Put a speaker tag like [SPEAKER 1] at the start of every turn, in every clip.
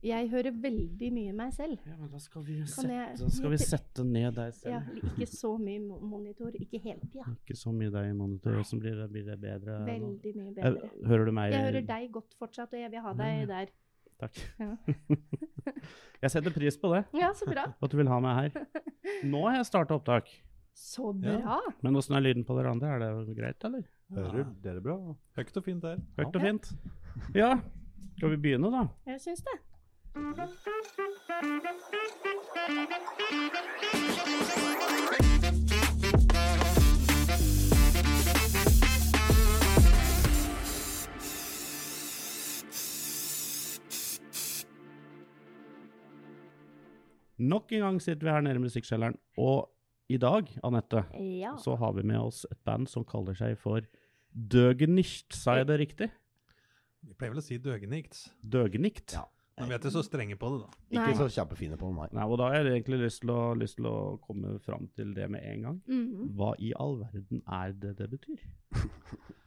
[SPEAKER 1] Jeg hører veldig mye meg selv.
[SPEAKER 2] Ja, men da skal vi sette,
[SPEAKER 1] jeg-
[SPEAKER 2] da skal vi sette ned deg
[SPEAKER 1] Ja,
[SPEAKER 2] selv.
[SPEAKER 1] ikke så mye mo- monitor, ikke hele tida.
[SPEAKER 2] Ikke så mye deg i monitor, og så blir det, blir det bedre. nå.
[SPEAKER 1] Veldig mye
[SPEAKER 2] Jeg-
[SPEAKER 1] bedre.
[SPEAKER 2] Hører du meg?
[SPEAKER 1] Jeg hører deg godt fortsatt, og jeg vil ha deg der.
[SPEAKER 2] Takk.
[SPEAKER 1] Ja.
[SPEAKER 2] Jeg setter pris på det,
[SPEAKER 1] Ja, så bra.
[SPEAKER 2] at du vil ha meg her. Nå har jeg starta opptak.
[SPEAKER 1] Så bra.
[SPEAKER 2] Men åssen er lyden på dere andre? Er det greit, eller?
[SPEAKER 3] Hører dere bra? Høyt og fint der.
[SPEAKER 2] Høyt og fint? Ja. Skal vi begynne, da?
[SPEAKER 1] Jeg syns det.
[SPEAKER 2] Nok en gang sitter vi her nede i musikkskjelleren, og i dag, Anette,
[SPEAKER 1] Ja.
[SPEAKER 2] så har vi med oss et band som kaller seg for Døgenicht, sa jeg det riktig?
[SPEAKER 3] Vi pleier vel å si døgenikt.
[SPEAKER 2] Døgenicht?
[SPEAKER 4] Ja.
[SPEAKER 3] Men vi er ikke så strenge på det, da.
[SPEAKER 1] Nei.
[SPEAKER 4] Ikke så kjempefine på meg.
[SPEAKER 2] Nei, og da har jeg egentlig lyst til, å, lyst til å komme fram til det med en gang.
[SPEAKER 1] Mhm.
[SPEAKER 2] Hva i all verden er det det betyr?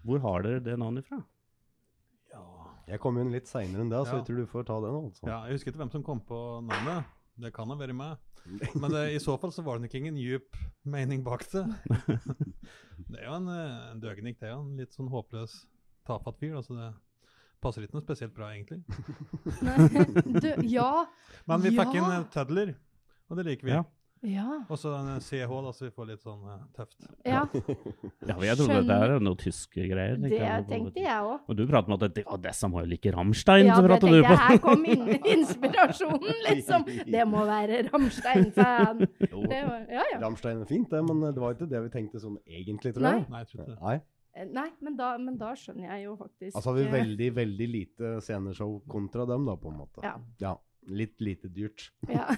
[SPEAKER 2] Hvor har dere det navnet fra?
[SPEAKER 3] Ja.
[SPEAKER 4] Jeg kom inn litt seinere enn deg, så
[SPEAKER 3] Ja.
[SPEAKER 4] jeg tror du får ta den. altså.
[SPEAKER 3] Jeg husker ikke hvem som kom på navnet. Det kan ha vært meg. Men det, i så fall så var det nok ingen djup mening bak det. Det er jo en, eh, en døgenikt, det er jo en litt sånn håpløs, tafatt fyr. Altså det passer ikke noe spesielt bra, egentlig.
[SPEAKER 1] Nei, Du, ja.
[SPEAKER 3] Men vi fikk
[SPEAKER 1] Ja.
[SPEAKER 3] inn eh, Tedler, og det liker vi.
[SPEAKER 2] Ja.
[SPEAKER 1] Ja.
[SPEAKER 3] Og så en eh, CH, da, så vi får litt sånn eh, tøft.
[SPEAKER 1] ja.
[SPEAKER 2] Ja, jeg trodde det
[SPEAKER 1] Skjønner.
[SPEAKER 2] er noe tyske greier. tenkte
[SPEAKER 1] Det
[SPEAKER 2] jeg.
[SPEAKER 1] tenkte jeg òg.
[SPEAKER 2] Og du prater om at det, å, disse må jo like Rammstein,
[SPEAKER 1] Ja,
[SPEAKER 2] så
[SPEAKER 1] det
[SPEAKER 2] prater du
[SPEAKER 1] tenkte jeg.
[SPEAKER 2] på.
[SPEAKER 1] Her kom inn, inspirasjonen, liksom. Det må være Rammstein, sa han.
[SPEAKER 4] Jo,
[SPEAKER 1] Det var, ja, ja.
[SPEAKER 4] Rammstein er fint, det, men det var ikke det vi tenkte sånn egentlig, tror
[SPEAKER 1] Nei.
[SPEAKER 4] jeg.
[SPEAKER 3] Nei, jeg tror ikke det.
[SPEAKER 4] Nei.
[SPEAKER 1] Nei, men da, men da skjønner jeg jo faktisk
[SPEAKER 4] Altså har vi
[SPEAKER 1] eh,
[SPEAKER 4] veldig, veldig lite sceneshow kontra dem, da, på en måte.
[SPEAKER 1] Ja.
[SPEAKER 4] Litt lite dyrt.
[SPEAKER 1] ja.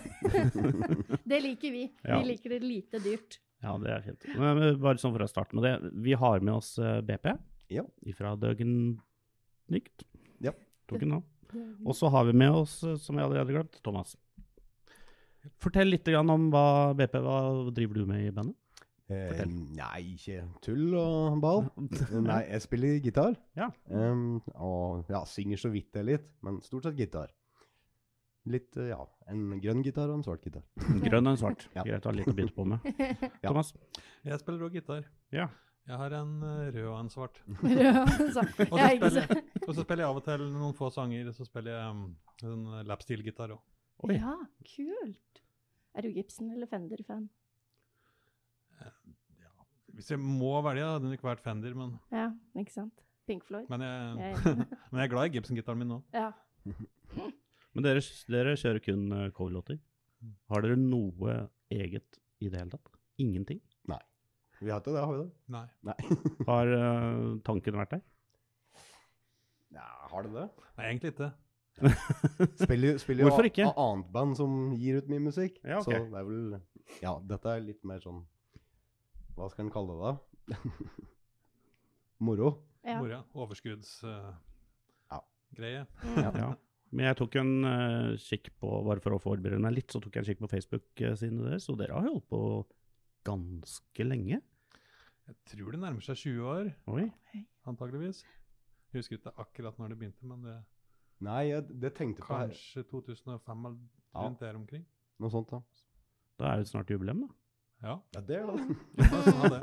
[SPEAKER 1] Det liker vi.
[SPEAKER 2] Ja.
[SPEAKER 1] Vi liker det lite dyrt.
[SPEAKER 2] Ja, det er fint. Men, men bare sånn for å starte med det. Vi har med oss eh, BP
[SPEAKER 4] Ja.
[SPEAKER 2] fra Døgenikt.
[SPEAKER 4] Ja.
[SPEAKER 2] Tok en navn. Og så har vi med oss, eh, som jeg allerede har glemt, Thomas. Fortell litt grann om hva BP hva driver du med i bandet.
[SPEAKER 4] Eh,
[SPEAKER 2] Fortell.
[SPEAKER 4] nei, ikke tull og ball. Nei, jeg spiller gitar.
[SPEAKER 2] Ja.
[SPEAKER 4] Em, og ja, synger så vidt jeg litt, men stort sett gitar. Litt, eh, ja, en grønn gitar og en svart gitar.
[SPEAKER 2] Grønn og en svart.
[SPEAKER 4] Ja.
[SPEAKER 2] Greit å ha litt å begynne på med.
[SPEAKER 4] Ja.
[SPEAKER 2] Thomas?
[SPEAKER 3] Jeg spiller òg gitar.
[SPEAKER 2] Ja.
[SPEAKER 3] Jeg har en eh, rød og en svart.
[SPEAKER 1] Ja, så-
[SPEAKER 3] Og
[SPEAKER 1] Ja,
[SPEAKER 3] så
[SPEAKER 1] ikke
[SPEAKER 3] spiller, og så spiller jeg av og til noen få sanger, så spiller jeg um, en lapsteel-gitar òg.
[SPEAKER 2] Oi.
[SPEAKER 1] Ja, kult. Er du Gibson eller Fender-fan?
[SPEAKER 3] Hvis jeg må velge, hadde det ikke vært Fender, men,
[SPEAKER 1] Ja, ikke sant? Pink Floyd?
[SPEAKER 3] men, jeg,
[SPEAKER 1] Jeg er enig.
[SPEAKER 3] men jeg er glad i Gibson-gitaren min nå.
[SPEAKER 1] Ja.
[SPEAKER 2] Men dere, dere kjører kun eh, coverlåter. Har dere noe eget i det hele tatt? Ingenting?
[SPEAKER 4] Vi har ikke det, har vi det?
[SPEAKER 3] Nei.
[SPEAKER 4] Nei.
[SPEAKER 2] Har eh, tanken vært der?
[SPEAKER 4] ja, har det det?
[SPEAKER 3] Nei, egentlig ikke.
[SPEAKER 4] Spiller, spiller
[SPEAKER 2] Hvorfor
[SPEAKER 4] jo
[SPEAKER 2] ikke?
[SPEAKER 4] a- a- annet band som gir ut mye musikk.
[SPEAKER 2] Ja, ok.
[SPEAKER 4] Så det er vel Ja, dette er litt mer sånn Hva skal en kalle det, da? Moro.
[SPEAKER 1] ja.
[SPEAKER 3] Mora. uh, Overskuddsgreie.
[SPEAKER 4] Ja.
[SPEAKER 1] Mm.
[SPEAKER 2] Ja. Men jeg tok en eh, kikk på, bare for å forberede meg litt, så tok jeg en kikk på Facebook-sidene deres, og dere har holdt på ganske lenge.
[SPEAKER 3] Jeg tror det nærmer seg 20 år,
[SPEAKER 2] Oi.
[SPEAKER 3] antageligvis. Jeg husker ikke akkurat når det begynte, men det
[SPEAKER 4] Nei, jeg, det tenkte jeg på her.
[SPEAKER 3] kanskje 2005 eller
[SPEAKER 4] Ja.
[SPEAKER 3] rundt der omkring.
[SPEAKER 4] Noe sånt, da.
[SPEAKER 2] Da er det snart jubileum, da.
[SPEAKER 3] Ja.
[SPEAKER 4] Ja, det er det.
[SPEAKER 3] det var sånn av det.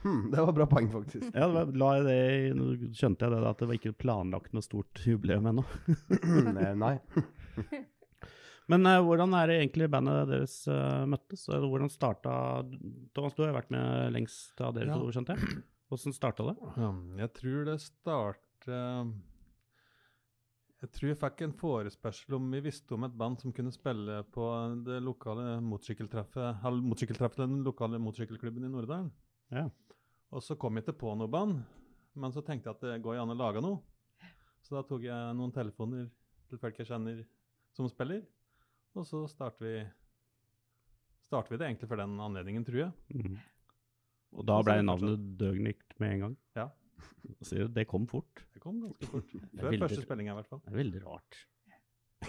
[SPEAKER 4] Hmm, det var bra poeng, faktisk.
[SPEAKER 2] Ja, det var, la jeg det, i- nå skjønte jeg det, da, at det var ikke planlagt noe stort jubileum ennå.
[SPEAKER 4] Eh, Nei.
[SPEAKER 2] Men eh, hvordan er det egentlig bandet deres eh, møttes? Eller hvordan starta Thomas, du har jo vært med lengst av dere
[SPEAKER 3] Ja.
[SPEAKER 2] to, skjønte jeg. Hvordan starta det?
[SPEAKER 3] Um, Jeg tror det starta Jeg tror jeg fikk en forespørsel om vi visste om et band som kunne spille på det lokale motorsykkeltreffet eller motorsykkeltreffet til den lokale motorsykkelklubben i Norddalen.
[SPEAKER 2] Ja.
[SPEAKER 3] Og så kom jeg ikke på noe band, men så tenkte jeg at det går jo an å lage noe. Så da tok jeg noen telefoner til folk jeg kjenner som spiller, og så starter vi starter vi det egentlig for den anledningen, tror jeg.
[SPEAKER 2] Mhm. Og da
[SPEAKER 3] Og så
[SPEAKER 2] ble
[SPEAKER 3] er det
[SPEAKER 2] navnet Døgnikt med en gang.
[SPEAKER 3] Ja.
[SPEAKER 2] Sier du, det kom fort.
[SPEAKER 3] Det kom ganske fort.
[SPEAKER 2] er
[SPEAKER 3] Før
[SPEAKER 2] veldig-
[SPEAKER 3] første spillinga, i hvert fall.
[SPEAKER 2] Det er veldig rart.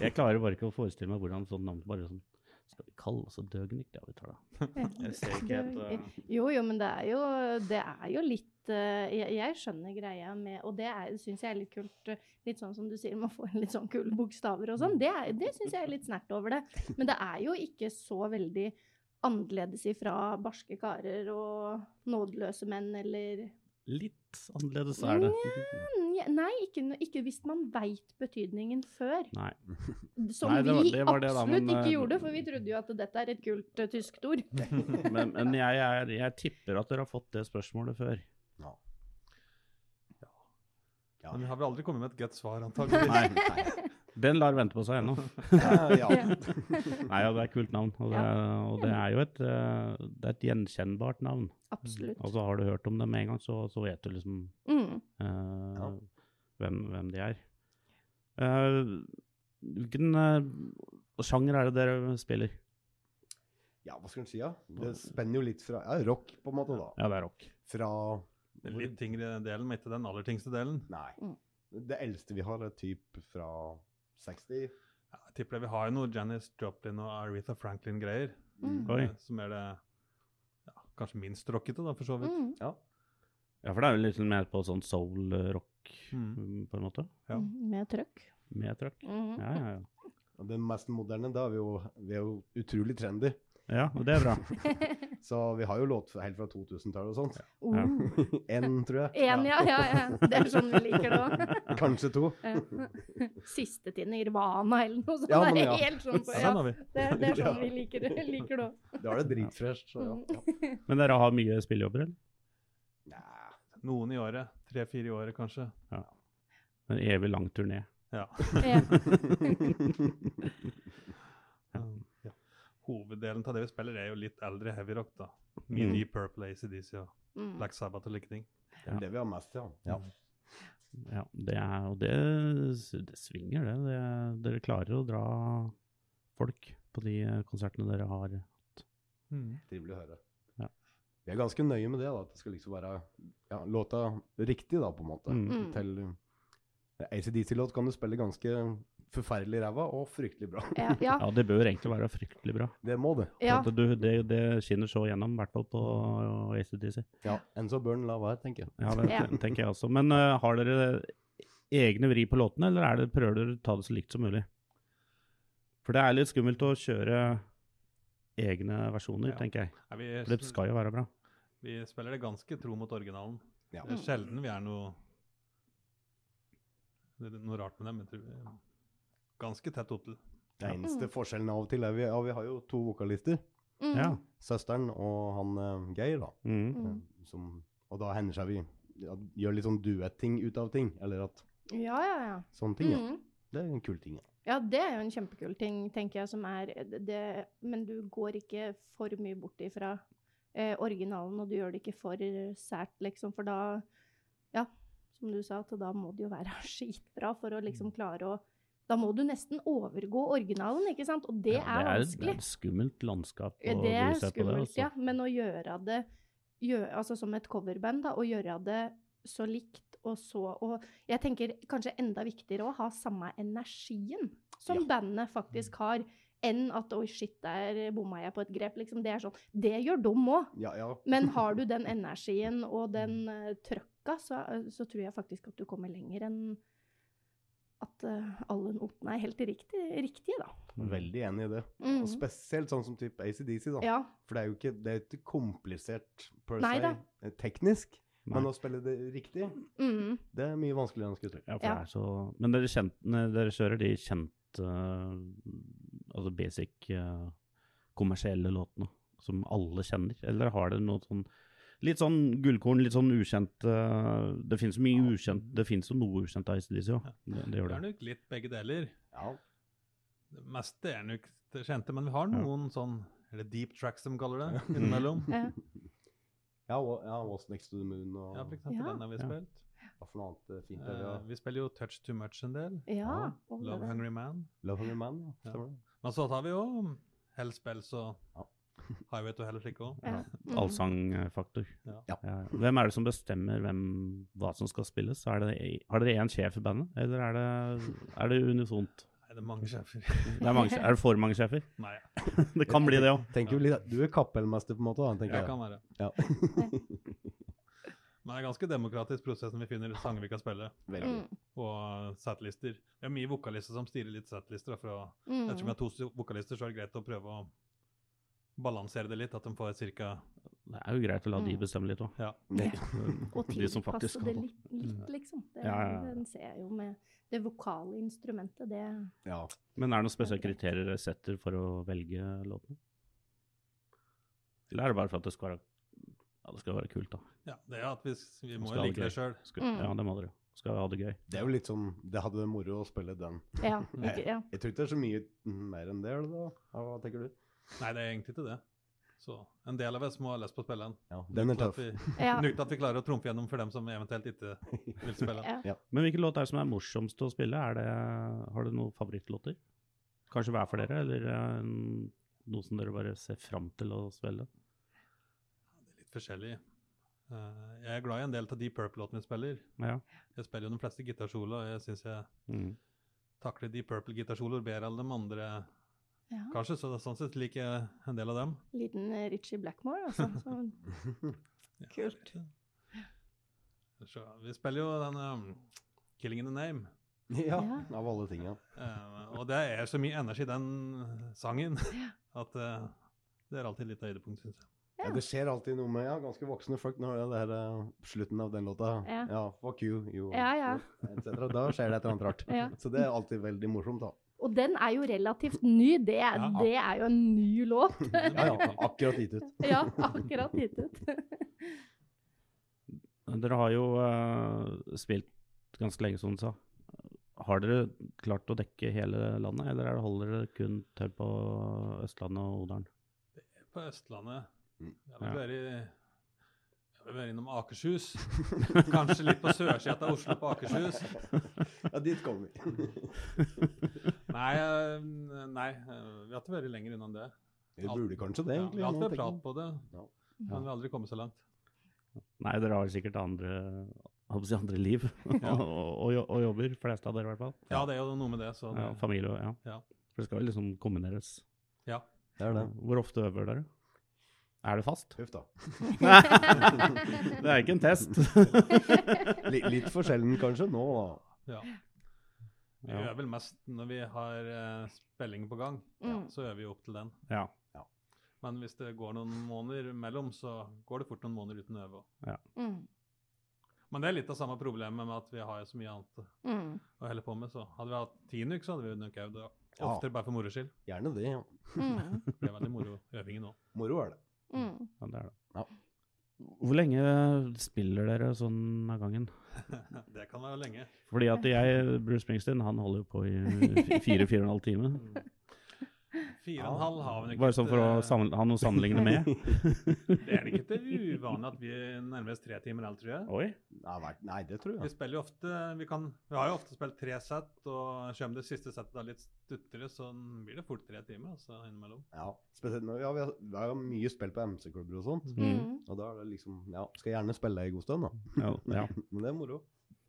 [SPEAKER 2] Jeg klarer bare ikke å forestille meg hvordan sånn navn bare sånn Skal vi kalle oss et døgnik? Ja, vi tar det. Jeg ser ikke helt
[SPEAKER 1] Døgnik.
[SPEAKER 2] eh,
[SPEAKER 1] Jo, jo, men det er jo, det er jo litt eh, jeg, jeg skjønner greia med Og det syns jeg er litt kult. eh, Litt sånn som du sier, man får litt sånn kule bokstaver og sånn. Det, er- det syns jeg er litt snert over det. Men det er jo ikke så veldig annerledes ifra barske karer og nådeløse menn eller
[SPEAKER 2] Litt annerledes er det.
[SPEAKER 1] Mm, Nei, ikke, no- ikke hvis man veit betydningen før.
[SPEAKER 2] Nei.
[SPEAKER 1] Som
[SPEAKER 2] Nei, det var-
[SPEAKER 1] vi
[SPEAKER 2] det var det da,
[SPEAKER 1] absolutt
[SPEAKER 2] men,
[SPEAKER 1] ikke
[SPEAKER 2] eh, Mm,
[SPEAKER 1] gjorde, for vi trodde jo at dette er et kult eh, tyskt ord.
[SPEAKER 2] Men, men jeg, er, jeg tipper at dere har fått det spørsmålet før.
[SPEAKER 4] Ja. Ja.
[SPEAKER 3] Men jeg har vel aldri kommet med et godt svar,
[SPEAKER 4] Nei,
[SPEAKER 3] antakeligvis.
[SPEAKER 4] nei.
[SPEAKER 2] Den lar vente på seg ennå.
[SPEAKER 4] Ja, ja.
[SPEAKER 2] Nei, ja, det er et kult navn. Og det, og det er jo et, eh, det er et gjenkjennbart navn.
[SPEAKER 1] Absolutt.
[SPEAKER 2] Altså Har du hørt om dem en gang, så, så vet du liksom
[SPEAKER 1] Mm.
[SPEAKER 2] eh,
[SPEAKER 4] Ja.
[SPEAKER 2] hvem, hvem de er. Eh, hvilken eh, sjanger er det dere spiller?
[SPEAKER 4] ja, hva skal en si, da? Det spenner jo litt fra ja, rock, på en måte, da.
[SPEAKER 2] Ja, det er rock.
[SPEAKER 4] Fra
[SPEAKER 3] Den litt tyngre delen, men ikke den aller tyngste delen.
[SPEAKER 4] Nei.
[SPEAKER 1] Mm.
[SPEAKER 4] Det eldste vi har, er typ fra 60.
[SPEAKER 3] Ja, jeg tipper det. Vi har jo noe Janis Joplin og Aretha Franklin-greier.
[SPEAKER 1] Mm.
[SPEAKER 2] Oi.
[SPEAKER 3] eh, Som er det ja, kanskje minst rockete, da, for så vidt.
[SPEAKER 1] Mm.
[SPEAKER 2] Ja, for det er jo litt mer på sånn soul-rock,
[SPEAKER 3] Mm.
[SPEAKER 2] på en måte.
[SPEAKER 3] Ja.
[SPEAKER 1] mm, Med trøkk.
[SPEAKER 2] Med trøkk.
[SPEAKER 1] Mm.
[SPEAKER 2] Ja, ja, ja.
[SPEAKER 4] Og Den mest moderne, da er vi jo, vi er jo utrolig trendy.
[SPEAKER 2] Ja, og det er bra.
[SPEAKER 4] Så vi har jo låter fra- helt fra 2000-tallet og sånt.
[SPEAKER 1] Oh.
[SPEAKER 2] Ja.
[SPEAKER 4] Uh. Én, tror jeg.
[SPEAKER 1] En, ja, ja, ja. Det er sånn vi liker det òg.
[SPEAKER 4] Kanskje to.
[SPEAKER 1] Siste til Nirvana eller noe sånt.
[SPEAKER 4] Ja,
[SPEAKER 1] det
[SPEAKER 4] men
[SPEAKER 1] er
[SPEAKER 4] ja.
[SPEAKER 1] helt sånn på, ja.
[SPEAKER 3] Ja, den har vi.
[SPEAKER 1] Det, er- det er sånn
[SPEAKER 4] Ja.
[SPEAKER 1] vi liker det liker det òg.
[SPEAKER 4] Da er det dritfresh. Så ja. ja.
[SPEAKER 2] Men dere har mye spillejobber, eller?
[SPEAKER 4] Nei,
[SPEAKER 3] Noen i året. Tre-fire i året, kanskje.
[SPEAKER 2] En evig lang turné.
[SPEAKER 3] Ja.
[SPEAKER 1] Mm. Ja.
[SPEAKER 3] Um, ja. Hoveddelen av det vi spiller, er jo litt eldre heavyrock, da. Mye
[SPEAKER 2] Mm.
[SPEAKER 3] Deep Purple, ACDC og
[SPEAKER 1] Mm.
[SPEAKER 3] Black Sabbath og like ting.
[SPEAKER 4] Det er det vi har mest, ja. ja.
[SPEAKER 2] Ja, det er, og det, det svinger, det. det. Dere klarer å dra folk på de eh, konsertene dere har.
[SPEAKER 4] Trivelig å høre.
[SPEAKER 2] Ja.
[SPEAKER 4] Vi er ganske nøye med det, da, at det skal liksom være ja, låta riktig, da, på en måte.
[SPEAKER 2] Mm.
[SPEAKER 1] Mm.
[SPEAKER 4] Til ACDC-låt kan du spille ganske forferdelig ræva og fryktelig bra.
[SPEAKER 1] Ja, ja.
[SPEAKER 2] Ja, det bør egentlig være fryktelig bra.
[SPEAKER 4] Det må det.
[SPEAKER 1] ja.
[SPEAKER 2] At du, det, det skinner så gjennom, i hvert fall på ACDC.
[SPEAKER 4] Ja. Enn så bør den la være, tenker jeg.
[SPEAKER 2] Ja, det
[SPEAKER 1] Ja.
[SPEAKER 2] ten- tenker jeg også. Men eh, har dere egne vri på låtene, eller er det, prøver dere å ta det så likt som mulig? For det er litt skummelt å kjøre egne versjoner,
[SPEAKER 3] Ja.
[SPEAKER 2] tenker jeg.
[SPEAKER 3] Nei,
[SPEAKER 2] For det
[SPEAKER 3] vi,
[SPEAKER 2] skal jo være bra.
[SPEAKER 3] vi spiller det ganske tro mot originalen.
[SPEAKER 4] Ja.
[SPEAKER 3] Det er sjelden vi er noe Det er noe rart med dem. Jeg tror vi er ganske tett opptil.
[SPEAKER 4] Den eneste forskjellen av og til er vi, ja, vi har jo to vokalister.
[SPEAKER 1] Mm.
[SPEAKER 2] Ja.
[SPEAKER 4] Søsteren og han eh, Geir, da. eh,
[SPEAKER 2] Mm.
[SPEAKER 1] Mm.
[SPEAKER 4] Som, og da hender seg vi ja, gjør litt sånn duett-ting ut av ting. Eller at
[SPEAKER 1] ja, ja, ja.
[SPEAKER 4] sånne ting. Ja.
[SPEAKER 1] Mm.
[SPEAKER 4] Det er en kul ting. Ja.
[SPEAKER 1] Ja, det er jo en kjempekul ting, tenker jeg, som er eh, det, det- Men du går ikke for mye bort ifra eh, originalen, og du gjør det ikke for sært, liksom, for da Ja, som du sa, at da må det jo være skitbra for å
[SPEAKER 2] Mm.
[SPEAKER 1] liksom klare å Da må du nesten overgå originalen, ikke sant? Og det
[SPEAKER 2] Ja,
[SPEAKER 1] er
[SPEAKER 2] Det er
[SPEAKER 1] vanskelig.
[SPEAKER 2] et skummelt landskap
[SPEAKER 1] Ja,
[SPEAKER 2] å
[SPEAKER 1] Det er
[SPEAKER 2] bli sett på det.
[SPEAKER 1] skummelt,
[SPEAKER 2] altså.
[SPEAKER 1] ja. Men å gjøre det gjø- altså som et coverband, da, å gjøre det så likt og så Og jeg tenker kanskje enda viktigere å ha samme energien som
[SPEAKER 4] Ja.
[SPEAKER 1] bandet faktisk har, enn at 'oi, shit, der bomma jeg på et grep'. Liksom, det er sånn. Det gjør dem òg.
[SPEAKER 4] Ja, ja.
[SPEAKER 1] Men har du den energien og den eh, trøkka, så, eh, så tror jeg faktisk at du kommer lenger enn at eh, alle notene er helt riktig, riktige, da.
[SPEAKER 4] Veldig enig i det.
[SPEAKER 1] Mm.
[SPEAKER 4] Og spesielt sånn som type ACDC, da.
[SPEAKER 1] Ja.
[SPEAKER 4] For det er jo ikke, det er ikke komplisert per
[SPEAKER 1] Nei
[SPEAKER 4] se
[SPEAKER 1] da.
[SPEAKER 4] eh, teknisk, men
[SPEAKER 2] Nei.
[SPEAKER 4] å spille det riktig,
[SPEAKER 1] Mm.
[SPEAKER 4] det er mye vanskeligere enn jeg skulle tro.
[SPEAKER 2] Ja, for
[SPEAKER 1] Ja.
[SPEAKER 2] det er så... Men dere, kjent, nei, dere kjører de kjente, eh, altså basic eh, kommersielle låtene som alle kjenner? Eller har dere noe sånn Litt sånn gullkorn, litt sånn ukjent eh, Det finnes mye ukjent Det finnes jo noe ukjent av ACDC òg. Det, det
[SPEAKER 3] Vi
[SPEAKER 2] gjør
[SPEAKER 3] er
[SPEAKER 2] det.
[SPEAKER 3] nok litt begge deler.
[SPEAKER 4] Ja.
[SPEAKER 3] Det meste er nok det kjente, men vi har
[SPEAKER 2] Ja.
[SPEAKER 3] noen sånn Er det deep tracks de kaller det? Innimellom.
[SPEAKER 1] Ja.
[SPEAKER 4] Ja, og, ja, What's Next to the Moon og
[SPEAKER 3] Ja, for eksempel.
[SPEAKER 1] Ja.
[SPEAKER 3] Den har vi
[SPEAKER 2] Ja.
[SPEAKER 3] spilt.
[SPEAKER 4] hva for noe annet eh, fint er
[SPEAKER 3] Eh,
[SPEAKER 4] det? ja.
[SPEAKER 3] vi spiller jo Touch Too Much en del.
[SPEAKER 1] ja.
[SPEAKER 4] Ja,
[SPEAKER 1] og det
[SPEAKER 3] Love
[SPEAKER 1] der.
[SPEAKER 3] Hungry Man.
[SPEAKER 4] Love Hungry Man, ja.
[SPEAKER 3] Ja.
[SPEAKER 4] Stemmer det.
[SPEAKER 3] Men så tar vi jo Hellspells
[SPEAKER 4] Ja.
[SPEAKER 3] og Highway to Hell og slikt òg.
[SPEAKER 1] Ja. Mm.
[SPEAKER 2] Allsangfaktor.
[SPEAKER 3] Ja.
[SPEAKER 4] Ja.
[SPEAKER 2] Hvem er det som bestemmer hvem, hva som skal spilles? Er det, har dere én sjef i bandet, eller er det, er det unisont?
[SPEAKER 3] Nei, er det mange sjefer?
[SPEAKER 2] Det er, mange, sje- er det for mange sjefer?
[SPEAKER 3] Nei, ja.
[SPEAKER 2] Det kan bli det òg.
[SPEAKER 4] Tenker jo litt, du er kappelmester, på en måte, da, tenker
[SPEAKER 3] jeg
[SPEAKER 4] jeg.
[SPEAKER 3] kan være.
[SPEAKER 4] Ja.
[SPEAKER 3] Men det er ganske demokratisk prosessen vi finner sanger vi kan spille,
[SPEAKER 4] Veldig.
[SPEAKER 1] Mm.
[SPEAKER 3] og setlister. Det er mye vokalister som styrer litt setlister. da, Fra, ettersom
[SPEAKER 1] Mm.
[SPEAKER 3] jeg har to s- vokalister, så er det greit å prøve å balansere det litt, at de får cirka
[SPEAKER 2] Det er jo greit å la de
[SPEAKER 1] Mm.
[SPEAKER 2] bestemme litt òg.
[SPEAKER 3] Ja.
[SPEAKER 4] Mm.
[SPEAKER 1] Og
[SPEAKER 2] De som
[SPEAKER 1] tilpasse
[SPEAKER 2] faktisk
[SPEAKER 1] det
[SPEAKER 2] kan.
[SPEAKER 1] litt, litt liksom. Det,
[SPEAKER 2] Ja, ja, ja.
[SPEAKER 1] Den ser jeg jo med det vokale instrumentet. Det
[SPEAKER 4] Ja.
[SPEAKER 2] Men er det noen spesielle kriterier dere setter for å velge låtene? Eller er det bare for at det skal være, ja, det skal være kult, da?
[SPEAKER 3] Ja, det er at vi, s- vi må
[SPEAKER 2] Skal
[SPEAKER 3] jo
[SPEAKER 2] ha
[SPEAKER 3] like det
[SPEAKER 2] det
[SPEAKER 3] sjøl.
[SPEAKER 2] Skal,
[SPEAKER 1] Mm.
[SPEAKER 2] Ja, det må dere jo. Skal ha det gøy.
[SPEAKER 4] Det er jo litt sånn Det hadde vært moro å spille den.
[SPEAKER 1] Ja. Ikke, ja.
[SPEAKER 4] Jeg tror ikke det er så mye mer enn det, eller da? Ja, Hva tenker du?
[SPEAKER 3] Nei, det er egentlig ikke det. Så en del av oss må ha lyst på å spille den.
[SPEAKER 4] Ja, den er
[SPEAKER 3] Til at
[SPEAKER 4] tøff.
[SPEAKER 3] vi-
[SPEAKER 1] ja.
[SPEAKER 3] Uten at vi klarer å trumfe gjennom for dem som eventuelt ikke vil spille den.
[SPEAKER 1] ja.
[SPEAKER 2] Men hvilken låt er det som er morsomst å spille? Er det, har du noen favorittlåter? Kanskje hver for dere, eller eh, noe som dere bare ser fram til å spille?
[SPEAKER 3] Litt forskjellig. Eh, jeg er glad i en del av de Purple-låtene vi spiller.
[SPEAKER 2] Ja.
[SPEAKER 3] Jeg spiller jo de fleste gitarsoloer, og jeg syns jeg
[SPEAKER 2] Mm.
[SPEAKER 3] takler de Purple-gitarsoloer bedre enn de andre,
[SPEAKER 1] ja.
[SPEAKER 3] kanskje. Så det, sånn sett liker jeg en del av dem.
[SPEAKER 1] Liten eh, Ritchie Blackmore, altså. Som,
[SPEAKER 3] Ja,
[SPEAKER 1] Kult.
[SPEAKER 3] jeg vet det. Så, vi spiller jo den um, 'Killing in the Name'.
[SPEAKER 4] Ja,
[SPEAKER 1] Ja.
[SPEAKER 4] av alle tinga.
[SPEAKER 3] Eh, og det er så mye energi i den sangen at eh, det er alltid litt høydepunkt, syns jeg.
[SPEAKER 4] Ja, det skjer alltid noe med ja, ganske voksne folk når det er eh, slutten av den låta.
[SPEAKER 1] Ja.
[SPEAKER 4] fuck you, you
[SPEAKER 1] ja, ja.
[SPEAKER 4] et cetera. Da skjer det et eller annet rart.
[SPEAKER 1] Ja.
[SPEAKER 4] Så det er alltid veldig morsomt, da.
[SPEAKER 1] Og den er jo relativt ny. Det, er-
[SPEAKER 3] Ja.
[SPEAKER 1] det er jo en ny låt.
[SPEAKER 4] Ja, ja, akkurat gitt ut.
[SPEAKER 1] Ja, akkurat gitt ut.
[SPEAKER 2] Dere har jo eh, spilt ganske lenge, som du sa. Har dere klart å dekke hele landet, eller er det- holder dere kun til på Østlandet og Odalen?
[SPEAKER 3] På Østlandet
[SPEAKER 4] Mm.
[SPEAKER 3] Jeg har vel vært i jeg har vel vært innom Akershus. Kanskje litt på sørsida av Oslo på Akershus.
[SPEAKER 4] Ja, dit kommer vi.
[SPEAKER 3] Nei, eh, nei eh, vi har ikke vært lenger unna det.
[SPEAKER 4] Vi burde kanskje det,
[SPEAKER 3] Ja,
[SPEAKER 4] egentlig.
[SPEAKER 3] vi har
[SPEAKER 4] nå
[SPEAKER 3] alltid
[SPEAKER 4] tenker
[SPEAKER 3] prat
[SPEAKER 4] jeg.
[SPEAKER 3] på det, men
[SPEAKER 2] Ja.
[SPEAKER 3] vi har aldri kommet så langt.
[SPEAKER 2] Nei, dere har sikkert andre, jeg håper å si andre liv og, og, jo- og jobber, fleste av dere i hvert fall.
[SPEAKER 3] Ja, det er jo noe med det. Så
[SPEAKER 2] Ja,
[SPEAKER 3] det,
[SPEAKER 2] familie og ja.
[SPEAKER 3] Ja.
[SPEAKER 2] For det skal jo liksom kombineres.
[SPEAKER 3] ja.
[SPEAKER 4] Det er det.
[SPEAKER 2] Hvor ofte øver dere? Er det fast?
[SPEAKER 4] Huff da.
[SPEAKER 2] Nei, det er ikke en test.
[SPEAKER 4] Li- litt for sjelden kanskje nå, da.
[SPEAKER 3] ja. Vi
[SPEAKER 2] Ja.
[SPEAKER 3] øver vel mest når vi har eh, spilling på gang.
[SPEAKER 1] Mm.
[SPEAKER 3] Så øver vi opp til den.
[SPEAKER 2] Ja.
[SPEAKER 3] Men hvis det går noen måneder mellom, så går det fort noen måneder uten å øve. også.
[SPEAKER 1] Mm.
[SPEAKER 3] Men det er litt av samme problemet med at vi har så mye annet
[SPEAKER 1] Mm.
[SPEAKER 3] å helle på med. Så hadde vi hatt ti uker, så hadde vi nok øvd
[SPEAKER 4] Ja.
[SPEAKER 3] oftere bare for moro skyld.
[SPEAKER 4] Gjerne det. ja.
[SPEAKER 1] Mm.
[SPEAKER 3] Det ble veldig moro øvingen òg.
[SPEAKER 4] Moro er det.
[SPEAKER 1] Mm.
[SPEAKER 2] ja, det er det.
[SPEAKER 4] Ja.
[SPEAKER 2] Hvor lenge spiller dere sånn av gangen?
[SPEAKER 3] Det kan være lenge.
[SPEAKER 2] Fordi at jeg, Bruce Springsteen, han holder jo på i fire-fire og en halv time.
[SPEAKER 3] Fire og en halv har vi nok
[SPEAKER 2] Bare sånn for å
[SPEAKER 3] eh,
[SPEAKER 2] samle, ha noe å sammenligne med.
[SPEAKER 3] Det er nok ikke uvanlig at vi er nærmest tre timer alt, tror jeg.
[SPEAKER 2] Oi.
[SPEAKER 4] Nei, vær- Nei, det tror
[SPEAKER 3] Vi
[SPEAKER 4] jeg.
[SPEAKER 3] spiller jo ofte Vi, kan, vi har jo ofte spilt tre sett, og kommer det siste settet da litt stuttere, så blir det fort tre timer altså, innimellom.
[SPEAKER 4] Ja, spesielt når ja, vi har, vi har jo mye spill på MC-klubber og sånt.
[SPEAKER 2] Mm.
[SPEAKER 1] Mm.
[SPEAKER 4] Og da er det liksom Ja, skal gjerne spille en god stund, da.
[SPEAKER 2] Ja, ja.
[SPEAKER 4] Men det er moro.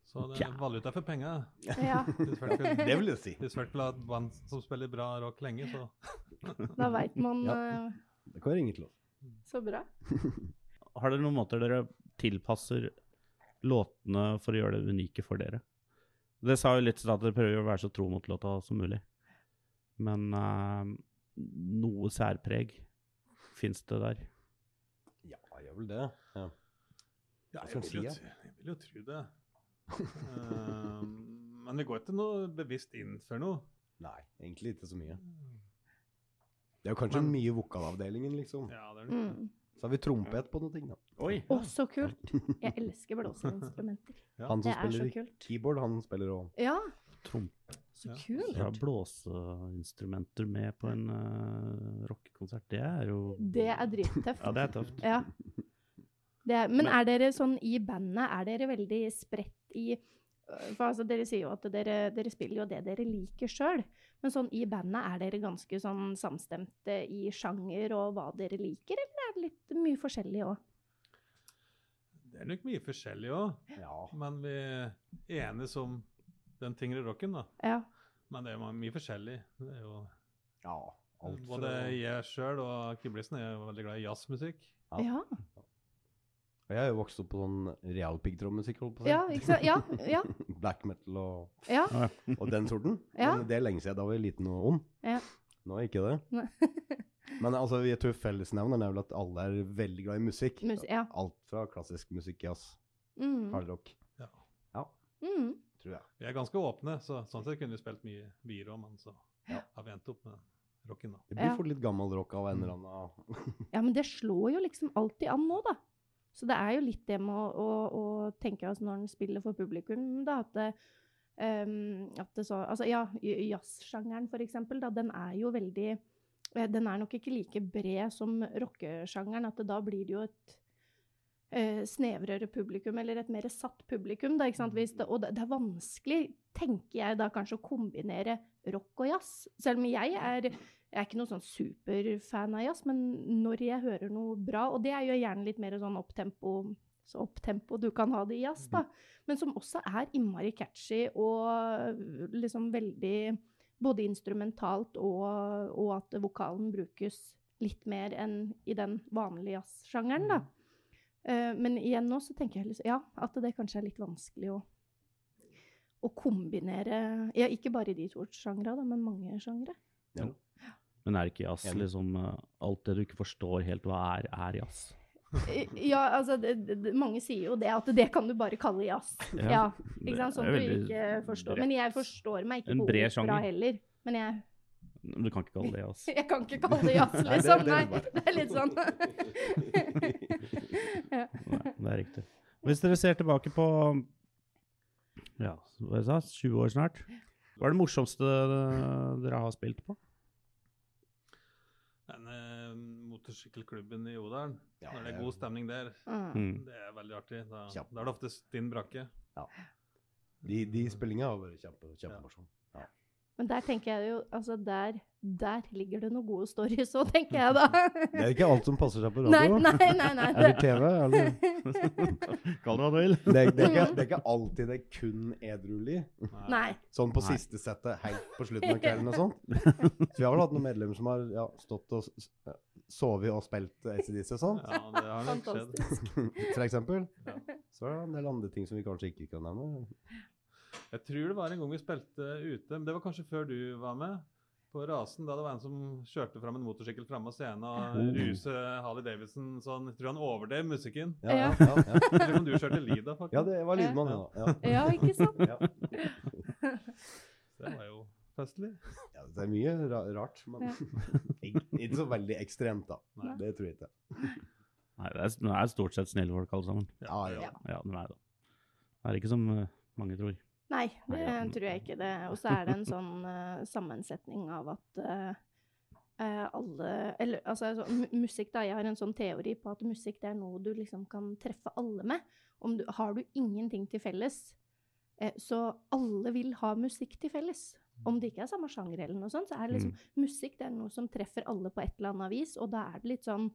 [SPEAKER 3] Så det
[SPEAKER 2] Ja.
[SPEAKER 3] er valuta for penga.
[SPEAKER 1] Ja,
[SPEAKER 3] Hvis folk vil-
[SPEAKER 4] Det vil jeg si.
[SPEAKER 3] Hvis folk vil ha et band som spiller bra rock lenge, så
[SPEAKER 1] da veit man
[SPEAKER 4] Ja.
[SPEAKER 1] eh,
[SPEAKER 4] Det kan være ingen lov.
[SPEAKER 1] så bra.
[SPEAKER 2] Har dere noen måter dere tilpasser låtene for å gjøre det unike for dere? Det sa jo litt sånn at dere prøver å være så tro mot låta som mulig. Men eh, noe særpreg fins det der.
[SPEAKER 4] Ja, gjør vel det. Ja.
[SPEAKER 3] Ja,
[SPEAKER 4] Hva
[SPEAKER 3] jeg
[SPEAKER 4] skal
[SPEAKER 3] vil, jo,
[SPEAKER 4] en si,
[SPEAKER 3] tr- jeg vil jo tro det. Ehm, men vi går ikke noe bevisst inn for noe.
[SPEAKER 4] Nei, egentlig ikke så mye. Det er jo kanskje
[SPEAKER 3] Men-
[SPEAKER 4] mye vokalavdelingen, liksom.
[SPEAKER 3] Ja, det er det.
[SPEAKER 1] Mm.
[SPEAKER 4] Så har vi trompet på noen ting, da.
[SPEAKER 2] Oi!
[SPEAKER 1] Å, så kult! Jeg elsker blåseinstrumenter.
[SPEAKER 3] Ja,
[SPEAKER 4] Han
[SPEAKER 1] Det
[SPEAKER 4] som
[SPEAKER 1] er så
[SPEAKER 4] spiller
[SPEAKER 1] kult.
[SPEAKER 4] keyboard, han spiller òg.
[SPEAKER 1] Ja,
[SPEAKER 2] Trompe
[SPEAKER 1] så
[SPEAKER 3] Ja.
[SPEAKER 1] kult!
[SPEAKER 2] fra blåseinstrumenter med på en eh, rockekonsert, det er jo
[SPEAKER 1] Det er drittøft.
[SPEAKER 2] Ja, det er tøft.
[SPEAKER 1] Ja. Det er, men er dere sånn i bandet, er dere veldig spredt i for altså, Dere sier jo at dere, dere spiller jo det dere liker sjøl, men sånn i bandet, er dere ganske sånn samstemte i sjanger og hva dere liker, eller er det litt mye forskjellig òg?
[SPEAKER 3] Det er nok mye forskjellig òg,
[SPEAKER 4] Ja.
[SPEAKER 3] men vi enes om den tyngre rocken, da.
[SPEAKER 1] Ja.
[SPEAKER 3] Men det er jo mye forskjellig. Det er jo
[SPEAKER 4] Ja, alt
[SPEAKER 3] Både
[SPEAKER 4] fra-
[SPEAKER 3] jeg sjøl og Kiblisen er jo veldig glad i jazzmusikk.
[SPEAKER 4] Ja.
[SPEAKER 1] Ja,
[SPEAKER 4] Og jeg er jo vokst opp på sånn realpigg-trommemusikk, holdt på å si.
[SPEAKER 1] ja, ikke sant? Ja, ja,
[SPEAKER 4] Black metal og,
[SPEAKER 1] ja.
[SPEAKER 4] og den sorten.
[SPEAKER 1] Ja.
[SPEAKER 4] Men det er lenge siden da var jeg liten og ung.
[SPEAKER 1] Ja.
[SPEAKER 4] Nå er jeg ikke det.
[SPEAKER 1] Nei.
[SPEAKER 4] Men altså, jeg tror fellesnevneren er vel at alle er veldig glad i musikk.
[SPEAKER 1] Mus ja.
[SPEAKER 4] Alt fra klassisk musikk, jazz,
[SPEAKER 1] Mm.
[SPEAKER 4] hardrock,
[SPEAKER 1] Mm.
[SPEAKER 4] tror jeg.
[SPEAKER 3] Vi er ganske åpne, så sånn sett kunne vi spilt mye bier òg, men så har vi endt opp med rocken, da.
[SPEAKER 4] Det blir
[SPEAKER 1] Ja.
[SPEAKER 4] fort litt gammel rock av en eller annen
[SPEAKER 1] Ja, men det slår jo liksom alltid an nå, da. Så det er jo litt det med å, å, å tenke altså når en spiller for publikum, da, at det, ehm, at det så Altså ja, j- jazzsjangeren for eksempel, da, den er jo veldig eh, Den er nok ikke like bred som rockesjangeren, at det, da blir det jo et eh, snevrere publikum, eller et mer satt publikum, da, ikke sant. Hvis det, og det, det er vanskelig, tenker jeg da kanskje, å kombinere rock og jazz. Selv om jeg er jeg er ikke noen sånn superfan av jazz, men når jeg hører noe bra, og det er jo gjerne litt mer sånn opptempo, så opptempo du kan ha det i jazz, da, men som også er innmari catchy og liksom veldig både instrumentalt og, og at vokalen brukes litt mer enn i den vanlige jazzsjangeren, da. Eh, men igjen nå så tenker jeg liksom, ja, at det kanskje er litt vanskelig å, å kombinere Ja, ikke bare i de to sjangre, da, men mange sjangre.
[SPEAKER 2] Men er ikke jazz
[SPEAKER 4] Enig.
[SPEAKER 2] liksom eh, Alt det du ikke forstår helt hva er, er jazz?
[SPEAKER 1] I- Ja, altså, det, det, det- mange sier jo det, at det kan du bare kalle jazz.
[SPEAKER 2] Ja,
[SPEAKER 1] Ja, ikke sant? Sånn
[SPEAKER 2] Det er
[SPEAKER 1] du
[SPEAKER 2] veldig
[SPEAKER 1] ikke forstår. Men jeg forstår meg ikke
[SPEAKER 2] En
[SPEAKER 1] på
[SPEAKER 2] bred
[SPEAKER 1] opera
[SPEAKER 2] sjanger.
[SPEAKER 1] heller. Men jeg,
[SPEAKER 2] Men Du kan ikke kalle det jazz.
[SPEAKER 1] jeg kan ikke kalle det jazz,
[SPEAKER 4] Nei, det-
[SPEAKER 1] liksom.
[SPEAKER 4] det
[SPEAKER 1] Nei,
[SPEAKER 4] er bare-
[SPEAKER 1] det er litt sånn ja.
[SPEAKER 2] Nei, det er riktig. Hvis dere ser tilbake på ja, hva jeg sa, 20 år snart, hva er det morsomste dere har spilt på?
[SPEAKER 3] Den eh, motorsykkelklubben i Odalen,
[SPEAKER 4] Ja,
[SPEAKER 3] når det
[SPEAKER 4] det
[SPEAKER 3] er
[SPEAKER 4] er-
[SPEAKER 3] god stemning der,
[SPEAKER 1] Mm.
[SPEAKER 2] Mm.
[SPEAKER 3] det er veldig artig. Da,
[SPEAKER 4] Ja.
[SPEAKER 3] da er det ofte stinn brakke.
[SPEAKER 4] De, de spillingene har vært kjempe, kjempemorsomme.
[SPEAKER 1] Men der tenker jeg jo Altså, der, der ligger det noen gode stories òg, tenker jeg da.
[SPEAKER 4] Det er ikke alt som passer seg på
[SPEAKER 1] Nei,
[SPEAKER 4] radio.
[SPEAKER 1] nei, nei. nei,
[SPEAKER 4] Eller TV. Eller.
[SPEAKER 2] Kall det hva du vil.
[SPEAKER 4] Det, er- det, er ikke, det er ikke alltid det er kun edruelig.
[SPEAKER 1] nei.
[SPEAKER 4] Sånn på
[SPEAKER 2] Nei.
[SPEAKER 4] siste settet helt på slutten av kvelden og sånt. Så vi har vel hatt noen medlemmer som har ja, stått og s- s- sovet og spilt ACDC og sånt.
[SPEAKER 3] Ja, det har nok skjedd.
[SPEAKER 1] Fantastisk.
[SPEAKER 4] For eksempel.
[SPEAKER 3] Ja.
[SPEAKER 4] Så er det en del andre ting som vi kanskje ikke kan nevne.
[SPEAKER 3] Jeg tror det var en gang vi spilte ute, men det var kanskje før du var med. På rasen, da det var en som kjørte fram en motorsykkel framme av scenen og
[SPEAKER 2] Oh.
[SPEAKER 3] ruse Harley Davidson, så han jeg tror han overdrev musikken.
[SPEAKER 4] Ja, ja, ja, ja.
[SPEAKER 3] Jeg tror du kjørte Lida, faktisk.
[SPEAKER 4] ja det var lydmann, ja. ja.
[SPEAKER 1] Ja, ikke sant?
[SPEAKER 4] ja.
[SPEAKER 3] Det var jo festlig.
[SPEAKER 4] ja det er mye ra rart, men
[SPEAKER 1] Ja.
[SPEAKER 4] ikke, ikke så veldig ekstremt, da.
[SPEAKER 3] Nei.
[SPEAKER 4] Det tror jeg ikke.
[SPEAKER 2] Nei, det er, det er stort sett snille folk alle sammen.
[SPEAKER 4] Ja, ja.
[SPEAKER 1] Ja.
[SPEAKER 2] Ja, det er det. Det er ikke som eh, mange tror.
[SPEAKER 1] Nei, det
[SPEAKER 2] Nei, ja.
[SPEAKER 1] tror jeg ikke det. Og så er det en sånn eh, sammensetning av at eh, eh, alle Eller altså, altså mu- musikk, da. Jeg har en sånn teori på at musikk det er noe du liksom kan treffe alle med. Om du, har du ingenting til felles, eh, så alle vil ha musikk til felles. Om det ikke er samme sjanger eller noe sånt, så er det liksom musikk det er noe som treffer alle på et eller annet vis, og da er det litt sånn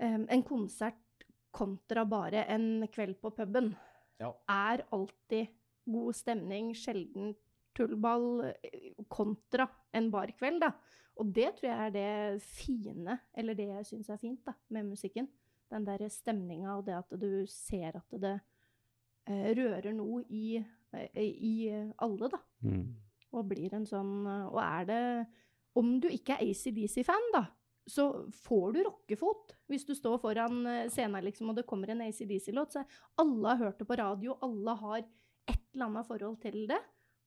[SPEAKER 1] eh, En konsert kontra bare en kveld på puben
[SPEAKER 4] Ja.
[SPEAKER 1] er alltid god stemning, sjelden tullball, eh, kontra en barkveld, da. Og det tror jeg er det fine, eller det jeg syns er fint da, med musikken. Den der stemninga og det at du ser at det eh, rører noe i, eh, i eh, alle, da.
[SPEAKER 2] Mm.
[SPEAKER 1] Og blir en sånn eh, Og er det Om du ikke er ACDC-fan, da, så får du rockefot. Hvis du står foran eh, scenen liksom, og det kommer en ACDC-låt, så er alle har hørt det på radio, alle har et eller annet forhold til det.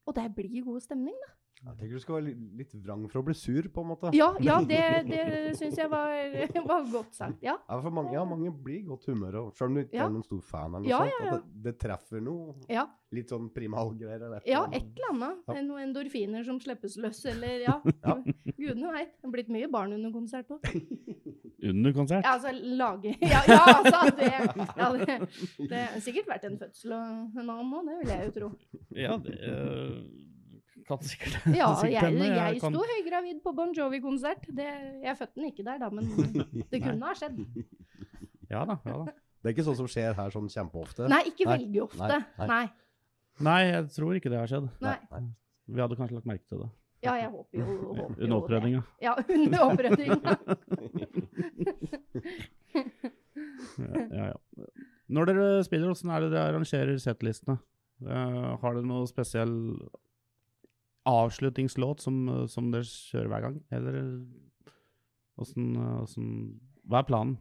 [SPEAKER 1] Og det blir god stemning, da.
[SPEAKER 4] Jeg tenker du skal være li- litt vrang for å bli sur, på en måte.
[SPEAKER 1] Ja, ja det, det syns jeg var, var godt sagt. Ja.
[SPEAKER 4] Ja, for mange, ja, mange blir i godt humør, og selv om du ikke
[SPEAKER 1] Ja.
[SPEAKER 4] er noen stor fan. eller noe
[SPEAKER 1] Ja,
[SPEAKER 4] sånt,
[SPEAKER 1] ja, ja.
[SPEAKER 4] At det, det treffer noe.
[SPEAKER 1] Ja.
[SPEAKER 4] Litt sånn primalgreier. eller et
[SPEAKER 1] ja,
[SPEAKER 4] eller
[SPEAKER 1] et
[SPEAKER 4] annet.
[SPEAKER 1] eller annet.
[SPEAKER 4] Ja.
[SPEAKER 1] Noen endorfiner som slippes løs, eller ja.
[SPEAKER 4] Ja.
[SPEAKER 1] Gudene veit. Det er blitt mye barn under konsert òg.
[SPEAKER 2] Under konsert?
[SPEAKER 1] Ja, altså lage Ja, ja altså! Det, ja, det, det har sikkert vært en fødsel og en annen òg, det vil jeg jo tro.
[SPEAKER 2] Ja, det eh, kan sikkert
[SPEAKER 1] Ja,
[SPEAKER 2] kan sikkert
[SPEAKER 1] jeg,
[SPEAKER 2] hende.
[SPEAKER 1] jeg
[SPEAKER 2] kan-
[SPEAKER 1] sto høygravid på Bon Jovi-konsert. Det- Jeg fødte den ikke der, da, men det kunne ha skjedd.
[SPEAKER 2] Ja da, ja da.
[SPEAKER 4] Det er ikke sånt som skjer her sånn kjempeofte.
[SPEAKER 1] Nei, ikke
[SPEAKER 4] Nei,
[SPEAKER 1] veldig ofte.
[SPEAKER 4] nei,
[SPEAKER 1] Nei.
[SPEAKER 2] Nei, jeg tror ikke det har skjedd.
[SPEAKER 1] Nei.
[SPEAKER 4] Nei.
[SPEAKER 2] Vi hadde kanskje lagt merke til det
[SPEAKER 1] Ja, jeg håper jo, håper jo
[SPEAKER 2] under opprydninga.
[SPEAKER 1] det. Ja, under opprydninga.
[SPEAKER 2] Ja, ja, ja. Når dere spiller, hvordan er det dere arrangerer settlistene? Eh, har dere noe spesiell avslutningslåt som, eh, som dere kjører hver gang? Eller hvordan, eh, hvordan- Hva er planen?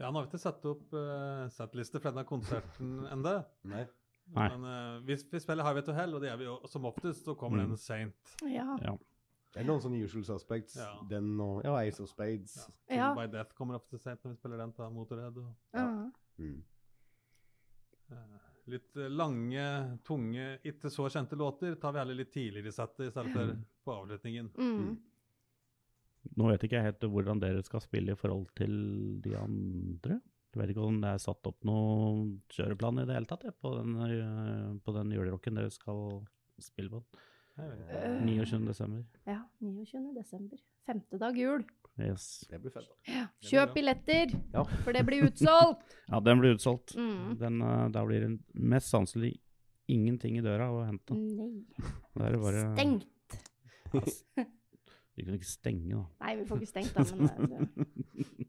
[SPEAKER 3] Ja, nå har vi ikke satt opp uh, settliste fra denne konserten enda.
[SPEAKER 4] Nei.
[SPEAKER 2] Nei.
[SPEAKER 3] Men eh, vi, vi spiller Highway to Hell, og det gjør vi jo som oftest. Så kommer
[SPEAKER 2] Mm.
[SPEAKER 3] den seint.
[SPEAKER 1] Ja.
[SPEAKER 4] Det er noen sånne usual suspects.
[SPEAKER 3] Ja.
[SPEAKER 4] Den og ja, Ace of Spades.
[SPEAKER 3] Ja. Kill
[SPEAKER 1] Ja.
[SPEAKER 3] by Death kommer ofte seint når vi spiller den til Motorhead. Og,
[SPEAKER 1] Ja.
[SPEAKER 4] Mm.
[SPEAKER 3] eh, litt eh, lange, tunge, ikke så kjente låter tar vi heller litt tidligere i settet i stedet for på avslutningen.
[SPEAKER 1] Mm.
[SPEAKER 2] Nå vet ikke jeg helt hvordan dere skal spille i forhold til de andre. Jeg vet ikke om det er satt opp noen kjøreplan i det hele tatt jeg, på den, eh, på den julerocken dere skal spille på
[SPEAKER 3] Jeg vet ikke.
[SPEAKER 1] Eh,
[SPEAKER 2] 29.12.
[SPEAKER 1] ja. 29. desember. Femte dag jul.
[SPEAKER 2] Yes.
[SPEAKER 4] Det blir fett. da.
[SPEAKER 1] Kjøp billetter,
[SPEAKER 4] Ja.
[SPEAKER 1] for det blir utsolgt!
[SPEAKER 2] Ja, den blir utsolgt.
[SPEAKER 1] Mm.
[SPEAKER 2] Den, eh, da blir det mest sannsynlig ingenting i døra å hente.
[SPEAKER 1] Nei.
[SPEAKER 2] Da er det eh, bare,
[SPEAKER 1] Stengt.
[SPEAKER 2] Vi kan ikke stenge, da.
[SPEAKER 1] Nei, vi får ikke stengt, da. Men eh,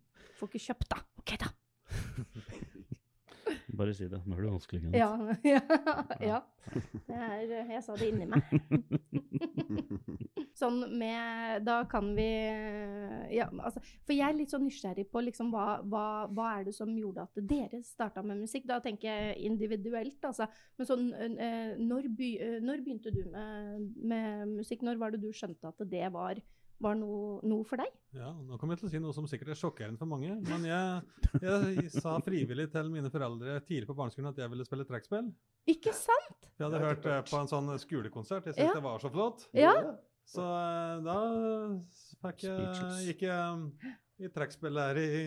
[SPEAKER 1] får ikke kjøpt, da. OK, da.
[SPEAKER 2] Bare si det. Nå er det vanskelig. ikke sant?
[SPEAKER 1] Ja. ja. ja. Det er, eh, jeg sa det inni meg. Sånn med Da kan vi ja, altså, For jeg er litt sånn nysgjerrig på liksom hva, hva, hva er det som gjorde at dere starta med musikk? Da tenker jeg individuelt, altså. Men sånn eh, når, by, eh, når begynte du med, med musikk? Når var det du skjønte at det var, var noe, noe for deg?
[SPEAKER 3] Ja, nå kommer jeg til å si noe som sikkert er sjokkerende for mange, men jeg, jeg sa frivillig til mine foreldre tidlig på barneskolen at jeg ville spille trekkspill.
[SPEAKER 1] Ikke sant?
[SPEAKER 3] Jeg hadde
[SPEAKER 4] Det er
[SPEAKER 3] hørt
[SPEAKER 4] ikke
[SPEAKER 3] eh,
[SPEAKER 4] verst.
[SPEAKER 3] på en sånn skolekonsert, jeg
[SPEAKER 1] Ja.
[SPEAKER 3] syntes det var så flott.
[SPEAKER 1] Ja.
[SPEAKER 3] Så eh, da fikk jeg,
[SPEAKER 2] Speechless.
[SPEAKER 3] gikk jeg i trekkspillet her i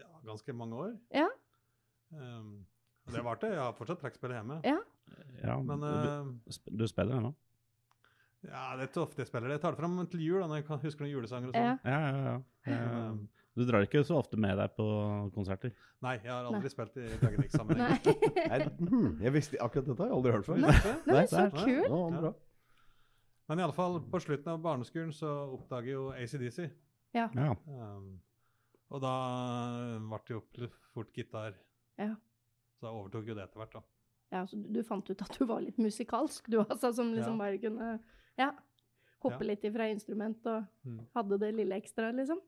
[SPEAKER 3] ja, ganske mange år.
[SPEAKER 1] Ja.
[SPEAKER 3] Um, og det varte. Jeg har fortsatt trekkspill hjemme.
[SPEAKER 1] Ja.
[SPEAKER 2] Ja,
[SPEAKER 3] Men
[SPEAKER 2] og
[SPEAKER 3] eh,
[SPEAKER 2] du, sp- du spiller ennå?
[SPEAKER 3] ja, det er ikke ofte jeg spiller det. Jeg tar det fram til jul, da, når jeg kan- husker noen julesanger og
[SPEAKER 1] Ja.
[SPEAKER 3] sånn.
[SPEAKER 2] Ja, ja, ja. Eh,
[SPEAKER 3] Men, eh,
[SPEAKER 2] Du drar ikke så ofte med deg på konserter?
[SPEAKER 3] Nei, jeg har
[SPEAKER 1] Nei.
[SPEAKER 3] aldri spilt i Dragenik-sammenheng.
[SPEAKER 1] Nei.
[SPEAKER 4] Nei, hmm, jeg visste akkurat dette har jeg aldri hørt før.
[SPEAKER 3] Visste du det?
[SPEAKER 1] Nei, så
[SPEAKER 4] der.
[SPEAKER 1] kult!
[SPEAKER 4] Ja, bra.
[SPEAKER 3] Men i alle fall, på slutten av barneskolen så oppdager jo ACDC.
[SPEAKER 2] Ja.
[SPEAKER 3] Um, og da eh, ble det jo pl- fort gitar.
[SPEAKER 1] Ja.
[SPEAKER 3] Så da overtok jo det etter hvert, da.
[SPEAKER 1] Ja, så du du fant ut at du var litt musikalsk, du altså, som liksom
[SPEAKER 3] Ja.
[SPEAKER 1] bare kunne ja, hoppe
[SPEAKER 3] Ja.
[SPEAKER 1] litt ifra instrument og
[SPEAKER 3] Mm.
[SPEAKER 1] hadde det lille ekstra, liksom.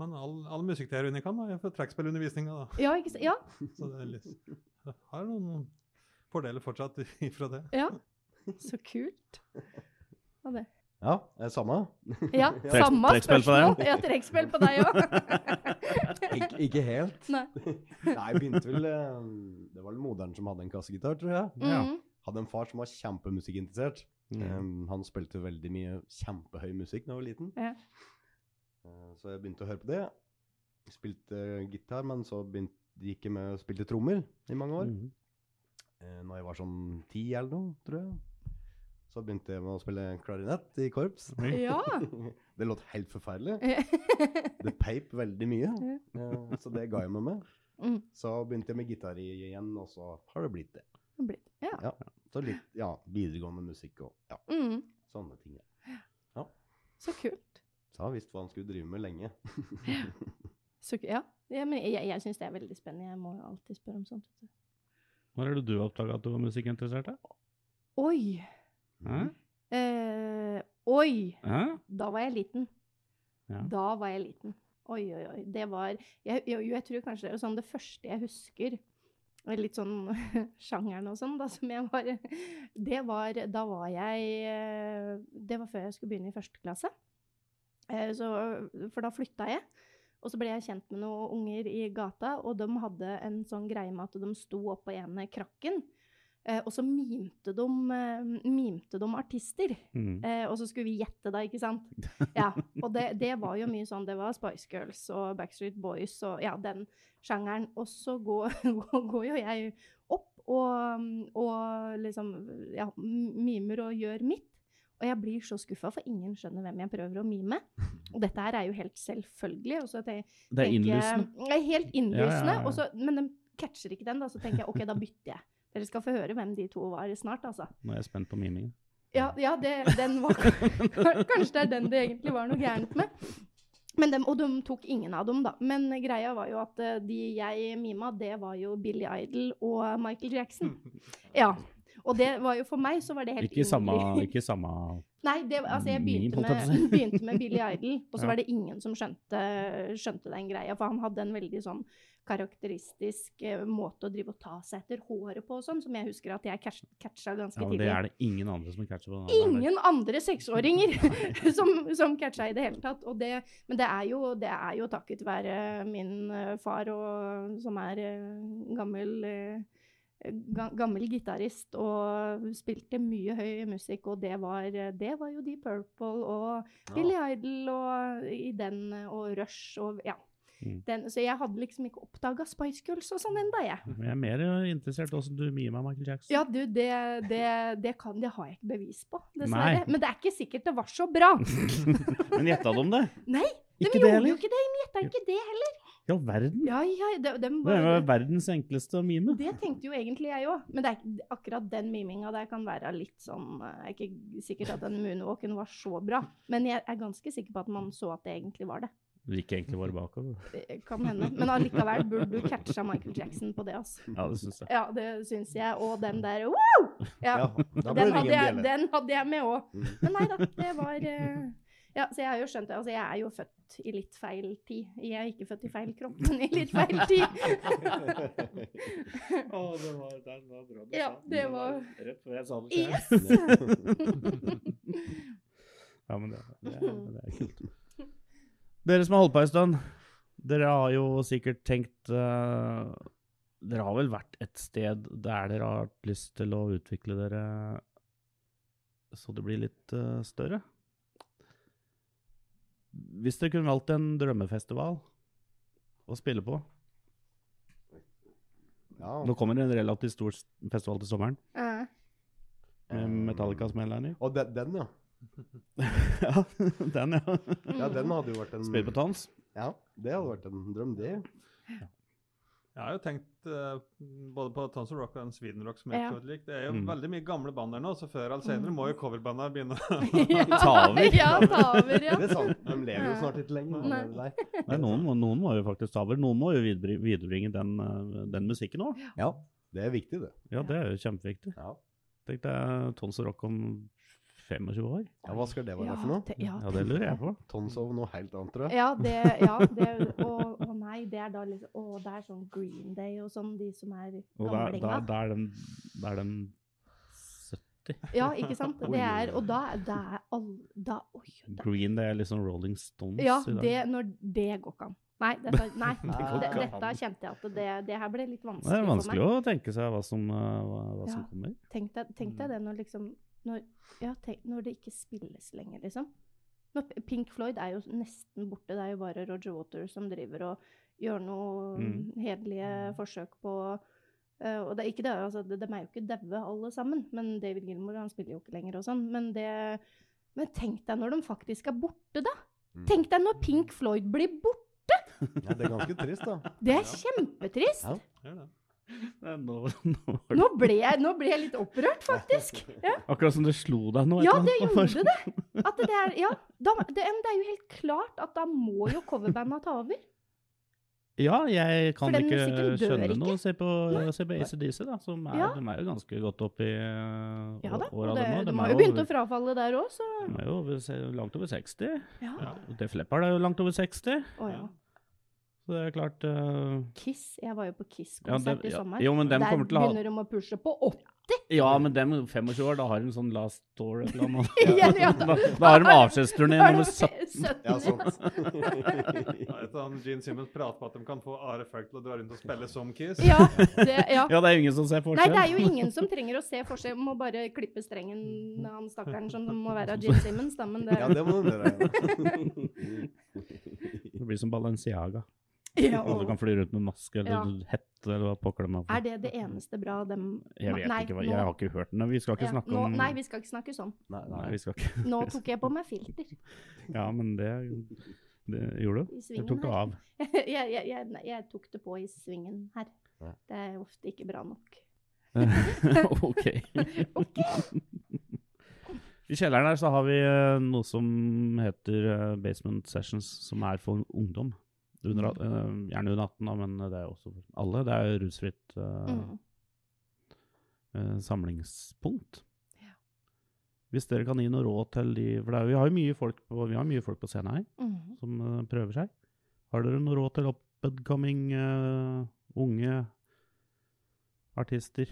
[SPEAKER 3] Men all, all musikkteori kan, da. Jeg får trekkspillundervisninga, da.
[SPEAKER 1] Ja, ikke sant? Ja,
[SPEAKER 3] Så det er litt, jeg har noen fordeler fortsatt ifra det.
[SPEAKER 1] ja. Så kult. Og det.
[SPEAKER 4] Ja, eh, samme.
[SPEAKER 1] Ja,
[SPEAKER 2] Trekk-
[SPEAKER 1] samme
[SPEAKER 2] trekkspill på
[SPEAKER 1] spørsmål.
[SPEAKER 2] deg,
[SPEAKER 1] Ja, trekkspill på deg òg.
[SPEAKER 4] Ik ikke helt.
[SPEAKER 1] Nei.
[SPEAKER 4] Nei, jeg begynte vel eh, Det var vel moderen som hadde en kassegitar, tror jeg.
[SPEAKER 2] Ja.
[SPEAKER 1] Mm.
[SPEAKER 4] Hadde en far som var kjempemusikkinteressert.
[SPEAKER 2] Mm.
[SPEAKER 4] Eh, han spilte veldig mye kjempehøy musikk da jeg var liten.
[SPEAKER 1] Ja.
[SPEAKER 4] Eh, så jeg begynte å høre på det. Spilte gitar, men så begynte, gikk jeg med og spilte trommer i mange år.
[SPEAKER 1] Mm.
[SPEAKER 2] Mhm.
[SPEAKER 4] eh, når jeg var sånn ti eller noe, tror jeg. Så begynte jeg med å spille klarinett i korps.
[SPEAKER 1] ja.
[SPEAKER 4] det låt helt forferdelig. Det peip veldig mye, eh, så det ga jeg meg med.
[SPEAKER 1] Mm.
[SPEAKER 4] Så begynte jeg med gitar i- igjen, og så har det blitt det.
[SPEAKER 1] Det blir- Ja.
[SPEAKER 4] Så litt ja, videregående musikk og ja,
[SPEAKER 1] Mm.
[SPEAKER 4] sånne ting. ja.
[SPEAKER 1] Så kult.
[SPEAKER 4] Så har jeg visst hva han skulle drive med lenge.
[SPEAKER 1] Så, ku- ja. ja, men jeg, jeg syns det er veldig spennende. Jeg må jo alltid spørre om sånt.
[SPEAKER 2] Når er det du oppdaga at du var musikkinteressert? da?
[SPEAKER 1] Oi! Mm.
[SPEAKER 2] Hæ?
[SPEAKER 1] Eh, oi!
[SPEAKER 2] Hæ?
[SPEAKER 1] Da var jeg liten.
[SPEAKER 2] Ja.
[SPEAKER 1] Da var jeg liten. Oi, oi, oi. Det var jeg, jo, jeg tror kanskje det er sånn det første jeg husker, og litt sånn sjangeren og sånn, da, som jeg var Det var Da var jeg eh, Det var før jeg skulle begynne i første klasse. Eh, Så, for da flytta jeg. Og så ble jeg kjent med noen unger i gata, og de hadde en sånn greie med at de sto oppå ene krakken, eh, og så mimte de, eh, mimte de artister.
[SPEAKER 2] Mhm.
[SPEAKER 1] Eh, og så skulle vi gjette, da, ikke sant? Ja, Og det, det var jo mye sånn Det var Spice Girls og Backstreet Boys og ja, den sjangeren. Og så går, går, går jo jeg opp og, og liksom ja, mimer og gjør mitt. Og jeg blir så skuffa, for ingen skjønner hvem jeg prøver å mime. Og dette her er jo helt selvfølgelig. Og så tenker
[SPEAKER 2] Det
[SPEAKER 1] tenker
[SPEAKER 2] er
[SPEAKER 1] jeg-
[SPEAKER 2] innlysende.
[SPEAKER 1] Det er helt innlysende.
[SPEAKER 2] Ja, ja, ja.
[SPEAKER 1] og så- men de catcher ikke den, da. Så tenker jeg OK, da bytter jeg. Dere skal få høre hvem de to var snart, altså.
[SPEAKER 2] Nå er jeg spent på mimingen.
[SPEAKER 1] Ja, ja det, den var Kanskje det er den det egentlig var noe gærent med. Men dem, og de tok ingen av dem, da. Men greia var jo at eh, de jeg mima, det var jo Billy Idol og Michael Jackson. Ja. Og det var jo for meg så var det helt
[SPEAKER 2] Ikke samme,
[SPEAKER 1] umulig.
[SPEAKER 2] ikke samme
[SPEAKER 1] Nei, det, altså jeg
[SPEAKER 2] Meme,
[SPEAKER 1] begynte
[SPEAKER 2] holdt jeg på å
[SPEAKER 1] med, begynte med Billy Idol, og så
[SPEAKER 2] Ja.
[SPEAKER 1] var det ingen som skjønte, skjønte den greia. For han hadde en veldig sånn karakteristisk eh, måte å drive og ta seg etter håret på og sånn, som jeg husker at jeg catch- catcha ganske
[SPEAKER 2] ja, men
[SPEAKER 1] tidlig.
[SPEAKER 2] Det er det ingen andre som catcher på. den alderen der.
[SPEAKER 1] Ingen andre seksåringer som, som catcha i det hele tatt. Og det, men det er, jo, det er jo takket være min eh, far, og, som er eh, gammel, eh, ga- gammel gitarist og spilte mye høy musikk. Og det var, eh, det var jo Deep Purple og Billy Idol og i den, eh, og Rush og ja.
[SPEAKER 2] Mm.
[SPEAKER 1] Den, så jeg hadde liksom ikke oppdaga Spice Girls og sånn enda, jeg.
[SPEAKER 2] Men Jeg er mer interessert i åssen du mimer Michael Jackson.
[SPEAKER 1] Ja, du, det, det, det, kan, det har jeg ikke bevis på, dessverre. Men det er ikke sikkert det var så bra.
[SPEAKER 2] Men gjetta de det?
[SPEAKER 1] Nei, De
[SPEAKER 2] Ikke det
[SPEAKER 1] gjorde jo
[SPEAKER 2] heller?
[SPEAKER 1] ikke det, de gjetta ikke det heller.
[SPEAKER 2] I all verden.
[SPEAKER 1] Ja, ja, de, dem
[SPEAKER 2] Det er jo
[SPEAKER 1] bare,
[SPEAKER 2] verdens enkleste å mime.
[SPEAKER 1] det tenkte jo egentlig jeg òg, men det er, ikke- akkurat den miminga der kan være litt sånn Det er ikke sikkert at den moonwalken var så bra, men jeg er ganske sikker på at man så at det egentlig var det.
[SPEAKER 2] Det gikk egentlig bare bakover.
[SPEAKER 1] Det kan hende. Men allikevel burde du catcha Michael Jackson på det, altså.
[SPEAKER 2] Ja, det syns jeg.
[SPEAKER 1] Ja, det syns jeg. Og den der wow! Ja,
[SPEAKER 4] da
[SPEAKER 1] Den
[SPEAKER 4] blir det
[SPEAKER 1] hadde, jeg,
[SPEAKER 4] ingen bjelle.
[SPEAKER 1] den hadde jeg med òg.
[SPEAKER 4] Mm.
[SPEAKER 1] Men nei da, det var eh, Ja, så jeg har jo skjønt det. Altså, jeg er jo født i litt feil tid. Jeg er ikke født i feil kropp, men i litt feil tid.
[SPEAKER 2] det var, den var bra
[SPEAKER 1] du Ja, sa. det Det var
[SPEAKER 2] rett før jeg sa
[SPEAKER 1] Yes!
[SPEAKER 2] Ja, men det, det, er, det er kult. Dere som har holdt på en stund, dere har jo sikkert tenkt eh, Dere har vel vært et sted der dere har hatt lyst til å utvikle dere så det blir litt eh, større? Hvis dere kunne valgt en drømmefestival å spille på Nå
[SPEAKER 4] Ja.
[SPEAKER 2] kommer det en relativt stor s- festival til sommeren
[SPEAKER 1] Eh,
[SPEAKER 2] med Metallica som headliner.
[SPEAKER 4] Og den, den, ja.
[SPEAKER 2] ja, den, ja.
[SPEAKER 4] ja. Den hadde jo vært en
[SPEAKER 2] Spille på tans.
[SPEAKER 4] Ja, det hadde vært en drøm, det.
[SPEAKER 3] Jeg har jo tenkt eh, både på Tons of Rock og Sweden Rock. som jeg
[SPEAKER 1] Ja.
[SPEAKER 3] tror det lik. Det er jo
[SPEAKER 2] Mm.
[SPEAKER 3] veldig mye gamle band der nå, så før eller senere
[SPEAKER 1] Mm.
[SPEAKER 3] må jo coverbanda begynne.
[SPEAKER 1] ja,
[SPEAKER 2] Ta over.
[SPEAKER 1] Ja, ta over,
[SPEAKER 4] Det
[SPEAKER 1] ja.
[SPEAKER 4] er sant. De lever jo snart ikke lenger.
[SPEAKER 1] Nei.
[SPEAKER 4] Nei.
[SPEAKER 2] Nei, noen, må, noen må jo faktisk ta over. Noen må jo videbri- viderebringe den, eh, den musikken òg.
[SPEAKER 4] Ja, det er viktig, det.
[SPEAKER 2] Ja, det er jo kjempeviktig.
[SPEAKER 4] Ja.
[SPEAKER 2] Tenk deg eh, Tons og Rock om 25 år.
[SPEAKER 4] Ja, Hva skal det være for noe?
[SPEAKER 1] te- ja,
[SPEAKER 2] Ja, det lurer jeg på.
[SPEAKER 4] Tons av noe helt annet, tror jeg.
[SPEAKER 1] Ja, det, ja det, og, og nei, det er da liksom Å, det er sånn Green Day og sånn, de som er
[SPEAKER 2] Og da da-
[SPEAKER 1] gamlinga.
[SPEAKER 2] da er den, da er den 70.
[SPEAKER 1] Ja, ikke sant?
[SPEAKER 4] Oi.
[SPEAKER 1] Det er, og da, da er alle Da Oi! Da,
[SPEAKER 2] Green Day er liksom Rolling Stones
[SPEAKER 1] ja,
[SPEAKER 2] i dag.
[SPEAKER 1] det, når det går ikke an. Nei, dette, nei
[SPEAKER 4] går
[SPEAKER 1] det,
[SPEAKER 4] ikke an.
[SPEAKER 1] dette kjente jeg at det, det her ble litt
[SPEAKER 2] Det
[SPEAKER 1] vanskelig,
[SPEAKER 2] er vanskelig
[SPEAKER 1] for meg.
[SPEAKER 2] å tenke seg hva som, eh, hva, hva som
[SPEAKER 1] Ja.
[SPEAKER 2] kommer.
[SPEAKER 1] Tenk deg, tenk
[SPEAKER 2] Mm.
[SPEAKER 1] deg det når liksom når, ja, tenk, når det ikke spilles lenger, liksom. Når P- Pink Floyd er jo nesten borte. Det er jo bare Roger Waters som driver og gjør noe
[SPEAKER 2] Mm.
[SPEAKER 1] hederlige forsøk på eh, og det er ikke det, altså, de, de er jo ikke daue, alle sammen. Men David Gilmour han spiller jo ikke lenger og sånn. Men, det, men tenk deg når de faktisk er borte, da!
[SPEAKER 4] Mm.
[SPEAKER 1] Eh, Tenk deg når Pink Floyd blir borte!
[SPEAKER 4] Ja, det er ganske trist, da.
[SPEAKER 1] Det
[SPEAKER 3] Ja.
[SPEAKER 1] er kjempetrist!
[SPEAKER 4] Ja.
[SPEAKER 3] Gjør det.
[SPEAKER 2] Nei, Nå, nå, var det-
[SPEAKER 1] Nå ble, jeg, nå ble jeg litt opprørt, faktisk. Ja,
[SPEAKER 2] akkurat som det slo deg nå.
[SPEAKER 1] ja
[SPEAKER 2] et
[SPEAKER 1] det
[SPEAKER 2] eller annet.
[SPEAKER 1] gjorde det. At det, er, ja, da, det, men det er jo helt klart at da må jo coverbanda ta over.
[SPEAKER 2] Ja, jeg kan
[SPEAKER 1] For den
[SPEAKER 2] ikke
[SPEAKER 1] musikken dør
[SPEAKER 2] skjønne
[SPEAKER 1] ikke.
[SPEAKER 2] noe. Se på, se på ACDC, da. Som er,
[SPEAKER 1] Ja.
[SPEAKER 2] De er jo ganske godt opp i
[SPEAKER 1] Ja da. Og
[SPEAKER 2] åra,
[SPEAKER 1] det,
[SPEAKER 2] dem
[SPEAKER 1] de
[SPEAKER 2] òg.
[SPEAKER 1] har jo begynt å frafalle der òg, så
[SPEAKER 2] De er jo over, se- langt over 60.
[SPEAKER 1] ja.
[SPEAKER 3] Ja.
[SPEAKER 2] Def Leppard er jo langt over 60.
[SPEAKER 1] Å ja.
[SPEAKER 2] Så det er klart eh,
[SPEAKER 1] Kiss. Jeg var jo på
[SPEAKER 2] ja,
[SPEAKER 1] Kiss-konsert
[SPEAKER 2] dem-
[SPEAKER 1] i
[SPEAKER 2] ja,
[SPEAKER 1] sommer.
[SPEAKER 2] Jo, men dem
[SPEAKER 1] der
[SPEAKER 2] kommer til å ha
[SPEAKER 1] begynner de å pushe på 80.
[SPEAKER 2] Ja, men dem 25 år, da har de sånn last tour eller noe.
[SPEAKER 1] Ja, ja.
[SPEAKER 2] da, da har de avskjedsturné
[SPEAKER 1] Da er de
[SPEAKER 2] nummer 17.
[SPEAKER 1] 17,
[SPEAKER 4] Ja, sånn.
[SPEAKER 1] ja.
[SPEAKER 4] sant.
[SPEAKER 3] Ja, etter han Gene Simmons prater på at de kan få Are Falk til å dra rundt og spille som Kiss.
[SPEAKER 1] Ja, det, ja.
[SPEAKER 2] Ja, det er ingen som ser
[SPEAKER 1] Nei,
[SPEAKER 2] forskjell.
[SPEAKER 1] det er jo ingen som trenger å se forskjell. Må bare klippe strengen av han stakkaren som må være Jim Simmons, da, men det
[SPEAKER 4] Ja, det må du gjøre.
[SPEAKER 2] Det blir som Balenciaga.
[SPEAKER 1] Ja,
[SPEAKER 2] Og du kan fly rundt med maske eller
[SPEAKER 1] Ja.
[SPEAKER 2] hette eller hva pokker de har på.
[SPEAKER 1] Er det det eneste bra dem
[SPEAKER 2] Jeg vet
[SPEAKER 1] Nei,
[SPEAKER 2] ikke hva
[SPEAKER 1] nå-
[SPEAKER 2] Jeg har ikke hørt den. og Vi skal
[SPEAKER 1] ja,
[SPEAKER 2] ikke snakke
[SPEAKER 1] nå,
[SPEAKER 2] om
[SPEAKER 1] Nei, vi skal ikke snakke sånn.
[SPEAKER 4] Nei,
[SPEAKER 2] Nei,
[SPEAKER 4] nei.
[SPEAKER 2] vi skal ikke.
[SPEAKER 1] Nå tok jeg på meg filter
[SPEAKER 2] Ja, men det, det gjorde du.
[SPEAKER 1] i
[SPEAKER 2] Det
[SPEAKER 1] svingen
[SPEAKER 2] tok du
[SPEAKER 1] her.
[SPEAKER 2] av.
[SPEAKER 1] Jeg, jeg, jeg, nei, jeg tok det på i svingen her.
[SPEAKER 4] Ja.
[SPEAKER 1] Det er ofte ikke bra nok.
[SPEAKER 2] ok.
[SPEAKER 1] OK.
[SPEAKER 2] I kjelleren her så har vi eh, noe som heter eh, Basement Sessions, som er for ungdom. Under,
[SPEAKER 1] Mm.
[SPEAKER 2] at- eh, gjerne under 18, da, men det er også for alle. Det er rusfritt eh,
[SPEAKER 1] Mm.
[SPEAKER 2] eh, samlingspunkt.
[SPEAKER 1] Ja.
[SPEAKER 2] Hvis dere kan gi noe råd til de For det er, vi har jo mye folk på, vi har mye folk på scenen her
[SPEAKER 1] Mm.
[SPEAKER 2] som eh, prøver seg. Har dere noe råd til up-and-coming eh, unge artister?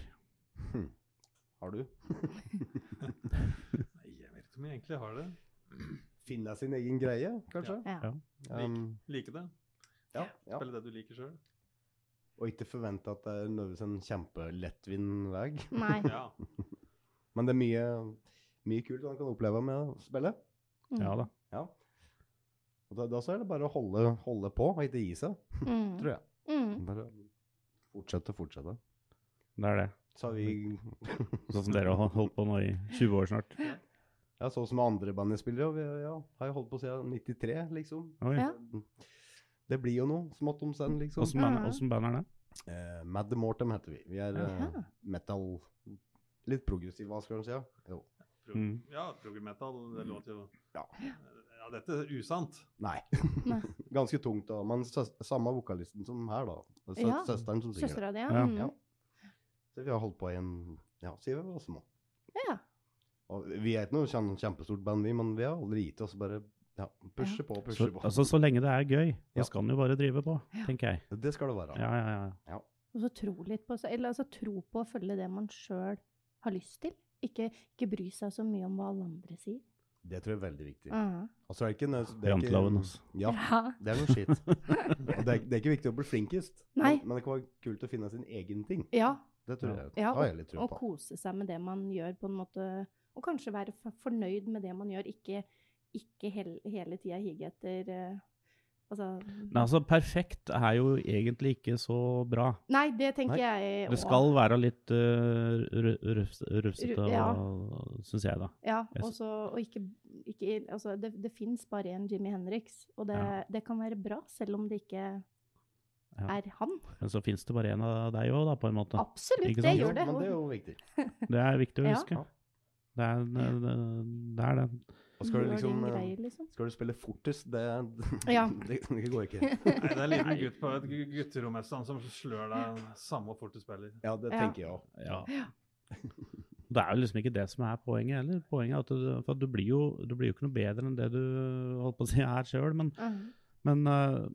[SPEAKER 4] Har du?
[SPEAKER 3] Nei, jeg vet ikke om jeg egentlig har det.
[SPEAKER 4] Finne sin egen greie, kanskje?
[SPEAKER 1] Ja.
[SPEAKER 2] Ja.
[SPEAKER 4] Um,
[SPEAKER 3] Like det.
[SPEAKER 4] ja, ja.
[SPEAKER 3] Spille det du liker sjøl.
[SPEAKER 4] Og ikke forvente at det er nødvendigvis en kjempelettvint vei.
[SPEAKER 1] Nei.
[SPEAKER 3] Ja.
[SPEAKER 4] Men det er mye, mye kult man kan oppleve med å spille.
[SPEAKER 1] Mm.
[SPEAKER 2] Ja da.
[SPEAKER 4] Ja. Og da, da så er det bare å holde, holde på og ikke gi seg,
[SPEAKER 1] Mm.
[SPEAKER 4] tror jeg.
[SPEAKER 1] Mm.
[SPEAKER 4] Bare fortsette, fortsette.
[SPEAKER 2] Det er det.
[SPEAKER 4] Så har vi
[SPEAKER 2] Sånn som dere har holdt på nå i 20 år snart.
[SPEAKER 4] Ja, sånn som andre band jeg spiller, og vi ja, har jo holdt på siden 93, liksom.
[SPEAKER 2] Oi.
[SPEAKER 1] Ja.
[SPEAKER 4] Det blir jo noe smått om senn, liksom.
[SPEAKER 2] Åssen band,
[SPEAKER 1] Ja.
[SPEAKER 2] åssen band er det?
[SPEAKER 4] Eh, Mad Mortem heter vi. Vi er eh,
[SPEAKER 1] Aha.
[SPEAKER 4] metal Litt progressive, hva skal man si? Ja. Jo.
[SPEAKER 3] Pro
[SPEAKER 2] Mm.
[SPEAKER 3] ja, progermetall, det låter jo
[SPEAKER 4] Ja.
[SPEAKER 3] Ja, dette er usant.
[SPEAKER 4] Nei.
[SPEAKER 1] Nei.
[SPEAKER 4] Ganske tungt, da. Men søs samme vokalisten som her, da. Sø
[SPEAKER 1] Ja.
[SPEAKER 4] Søsteren som synger.
[SPEAKER 1] Søstera di, ja.
[SPEAKER 2] Ja.
[SPEAKER 1] Mm.
[SPEAKER 4] Ja. Så vi har holdt på i en Ja, sier vi var små.
[SPEAKER 1] Ja.
[SPEAKER 4] Og vi er ikke noe kjem- kjempestort band, vi, men vi har aldri gitt oss. Bare ja, pushe på, pushe
[SPEAKER 2] Så,
[SPEAKER 4] på.
[SPEAKER 2] altså, så lenge det er gøy,
[SPEAKER 4] Ja.
[SPEAKER 2] så skal man jo bare drive på,
[SPEAKER 1] Ja.
[SPEAKER 2] tenker jeg.
[SPEAKER 4] det skal det være.
[SPEAKER 2] Ja, ja, ja.
[SPEAKER 1] Og så tro litt på seg, eller altså tro på å følge det man sjøl har lyst til. Ikke, ikke bry seg så mye om hva alle andre sier. Mm.
[SPEAKER 4] Det tror jeg er veldig viktig.
[SPEAKER 1] Ja.
[SPEAKER 4] Og så er det ikke nø- det er ikke-
[SPEAKER 2] Janteloven, altså.
[SPEAKER 4] Ja, det er noe skitt. Og det er, det er ikke viktig å bli flinkest,
[SPEAKER 1] Nei.
[SPEAKER 4] Men, men det kan være kult å finne sin egen ting.
[SPEAKER 1] ja.
[SPEAKER 4] Det tror
[SPEAKER 2] Ja.
[SPEAKER 4] jeg.
[SPEAKER 1] Ja,
[SPEAKER 4] har jeg litt tro
[SPEAKER 1] Og
[SPEAKER 4] på.
[SPEAKER 1] kose seg med det man gjør, på en måte. Og kanskje være f- fornøyd med det man gjør, ikke, ikke hel, hele tida hige etter eh, Altså
[SPEAKER 2] Nei, altså, perfekt er jo egentlig ikke så bra.
[SPEAKER 1] Nei, det tenker
[SPEAKER 4] Nei.
[SPEAKER 1] jeg
[SPEAKER 2] Det
[SPEAKER 1] også.
[SPEAKER 2] skal være litt uh, rufsete,
[SPEAKER 1] Ru- ja.
[SPEAKER 2] og- syns jeg, da.
[SPEAKER 1] Ja,
[SPEAKER 2] Jeg
[SPEAKER 1] og,
[SPEAKER 2] s-
[SPEAKER 1] så, og ikke, ikke altså, Det, det fins bare en Jimmy Henriks, og det,
[SPEAKER 2] Ja.
[SPEAKER 1] det kan være bra, selv om det ikke
[SPEAKER 2] Ja.
[SPEAKER 1] er han.
[SPEAKER 2] Men så fins det bare en av deg òg, da, på en måte.
[SPEAKER 1] Absolutt,
[SPEAKER 2] Ikke
[SPEAKER 1] det
[SPEAKER 2] sant?
[SPEAKER 4] Jo,
[SPEAKER 1] gjør det.
[SPEAKER 4] Men det er jo viktig.
[SPEAKER 2] Det er viktig å
[SPEAKER 1] Ja.
[SPEAKER 2] huske. Det er det, det- det. Er det.
[SPEAKER 4] Og skal du
[SPEAKER 1] Gjør
[SPEAKER 4] liksom
[SPEAKER 1] din
[SPEAKER 4] eh,
[SPEAKER 1] greie, liksom.
[SPEAKER 4] Skal du spille fortest, det,
[SPEAKER 1] Ja.
[SPEAKER 4] det, det går ikke.
[SPEAKER 3] Nei, det er en liten gutt på et gu- gutterom et sted som slør deg samme hvor fort du spiller.
[SPEAKER 4] Ja, det
[SPEAKER 1] Ja.
[SPEAKER 4] tenker jeg òg.
[SPEAKER 2] Ja. Det er jo liksom ikke det som er poenget heller. Poenget er at du, for at du, blir, jo, du blir jo ikke noe bedre enn det du holdt på å si er sjøl, men
[SPEAKER 1] Mhm.
[SPEAKER 2] Men eh,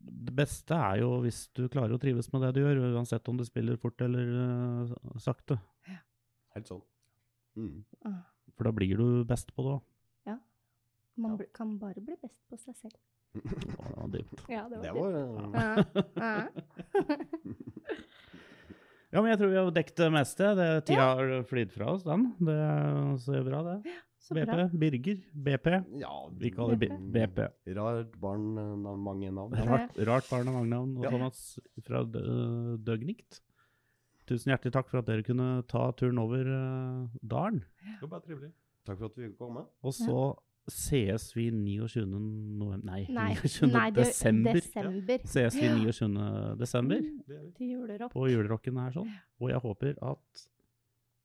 [SPEAKER 2] det beste er jo hvis du klarer å trives med det du gjør, uansett om du spiller fort eller eh, sakte.
[SPEAKER 4] Helt sånn. Mm.
[SPEAKER 1] Ah,
[SPEAKER 2] For da blir du best på det òg.
[SPEAKER 1] Man
[SPEAKER 4] Ja.
[SPEAKER 1] bli- kan bare bli best på seg selv. Ja,
[SPEAKER 4] Det var
[SPEAKER 2] Ja. Ja, men jeg tror vi har dekket det meste. Det, tida har flydd fra oss, den. Det er så bra, det.
[SPEAKER 1] Så
[SPEAKER 2] BP.
[SPEAKER 1] bra.
[SPEAKER 2] Birger. BP.
[SPEAKER 4] Ja,
[SPEAKER 2] Vi kaller det B- BP.
[SPEAKER 4] Rart barn, eh, navn- mange navn.
[SPEAKER 1] Ja.
[SPEAKER 2] Rart, rart barn og mangnavn. Og
[SPEAKER 4] Ja.
[SPEAKER 2] Thomas fra Dø- Døgnikt. Tusen hjertelig takk for at dere kunne ta turen over eh, dalen.
[SPEAKER 3] Det var bare trivelig.
[SPEAKER 4] Takk for at vi fikk komme.
[SPEAKER 2] Og så sees vi 29. november Nei,
[SPEAKER 1] Nei,
[SPEAKER 2] 29.
[SPEAKER 1] nei, det-
[SPEAKER 2] desember.
[SPEAKER 1] desember.
[SPEAKER 2] Sees vi 29. desember
[SPEAKER 4] Mm,
[SPEAKER 3] Det er vi.
[SPEAKER 1] Til juleropp.
[SPEAKER 2] på Julerocken her sånn. Og jeg håper at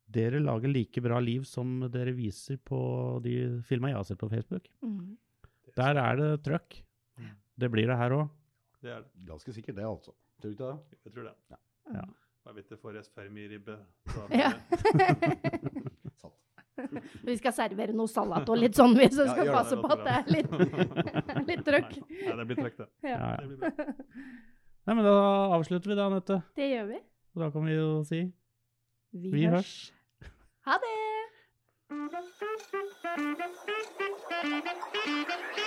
[SPEAKER 2] dere lager like bra liv som dere viser på de filma jeg har sett på Facebook.
[SPEAKER 1] Mhm.
[SPEAKER 2] Der er det trøkk. Det blir det her òg.
[SPEAKER 3] Det er det.
[SPEAKER 4] Ganske sikkert det, altså. Tror du ikke det?
[SPEAKER 3] Jeg tror det.
[SPEAKER 2] Ja.
[SPEAKER 3] Bare vidt det får espermiribbe.
[SPEAKER 1] Ja.
[SPEAKER 4] Sant.
[SPEAKER 1] Vi skal servere noe salat og litt sånn, vi, så
[SPEAKER 4] Ja,
[SPEAKER 1] skal
[SPEAKER 4] gjør det,
[SPEAKER 1] passe på at det er litt litt trøkk.
[SPEAKER 3] Nei, nei, det blir trøkk, det.
[SPEAKER 1] ja.
[SPEAKER 2] Ja.
[SPEAKER 3] det blir bra.
[SPEAKER 2] Nei, men da avslutter vi det, Anette.
[SPEAKER 1] Det gjør vi.
[SPEAKER 2] Og Da kan vi jo si
[SPEAKER 1] Vi,
[SPEAKER 2] vi
[SPEAKER 1] hørs.
[SPEAKER 2] hørs.
[SPEAKER 1] Ha det!
[SPEAKER 5] Thank you.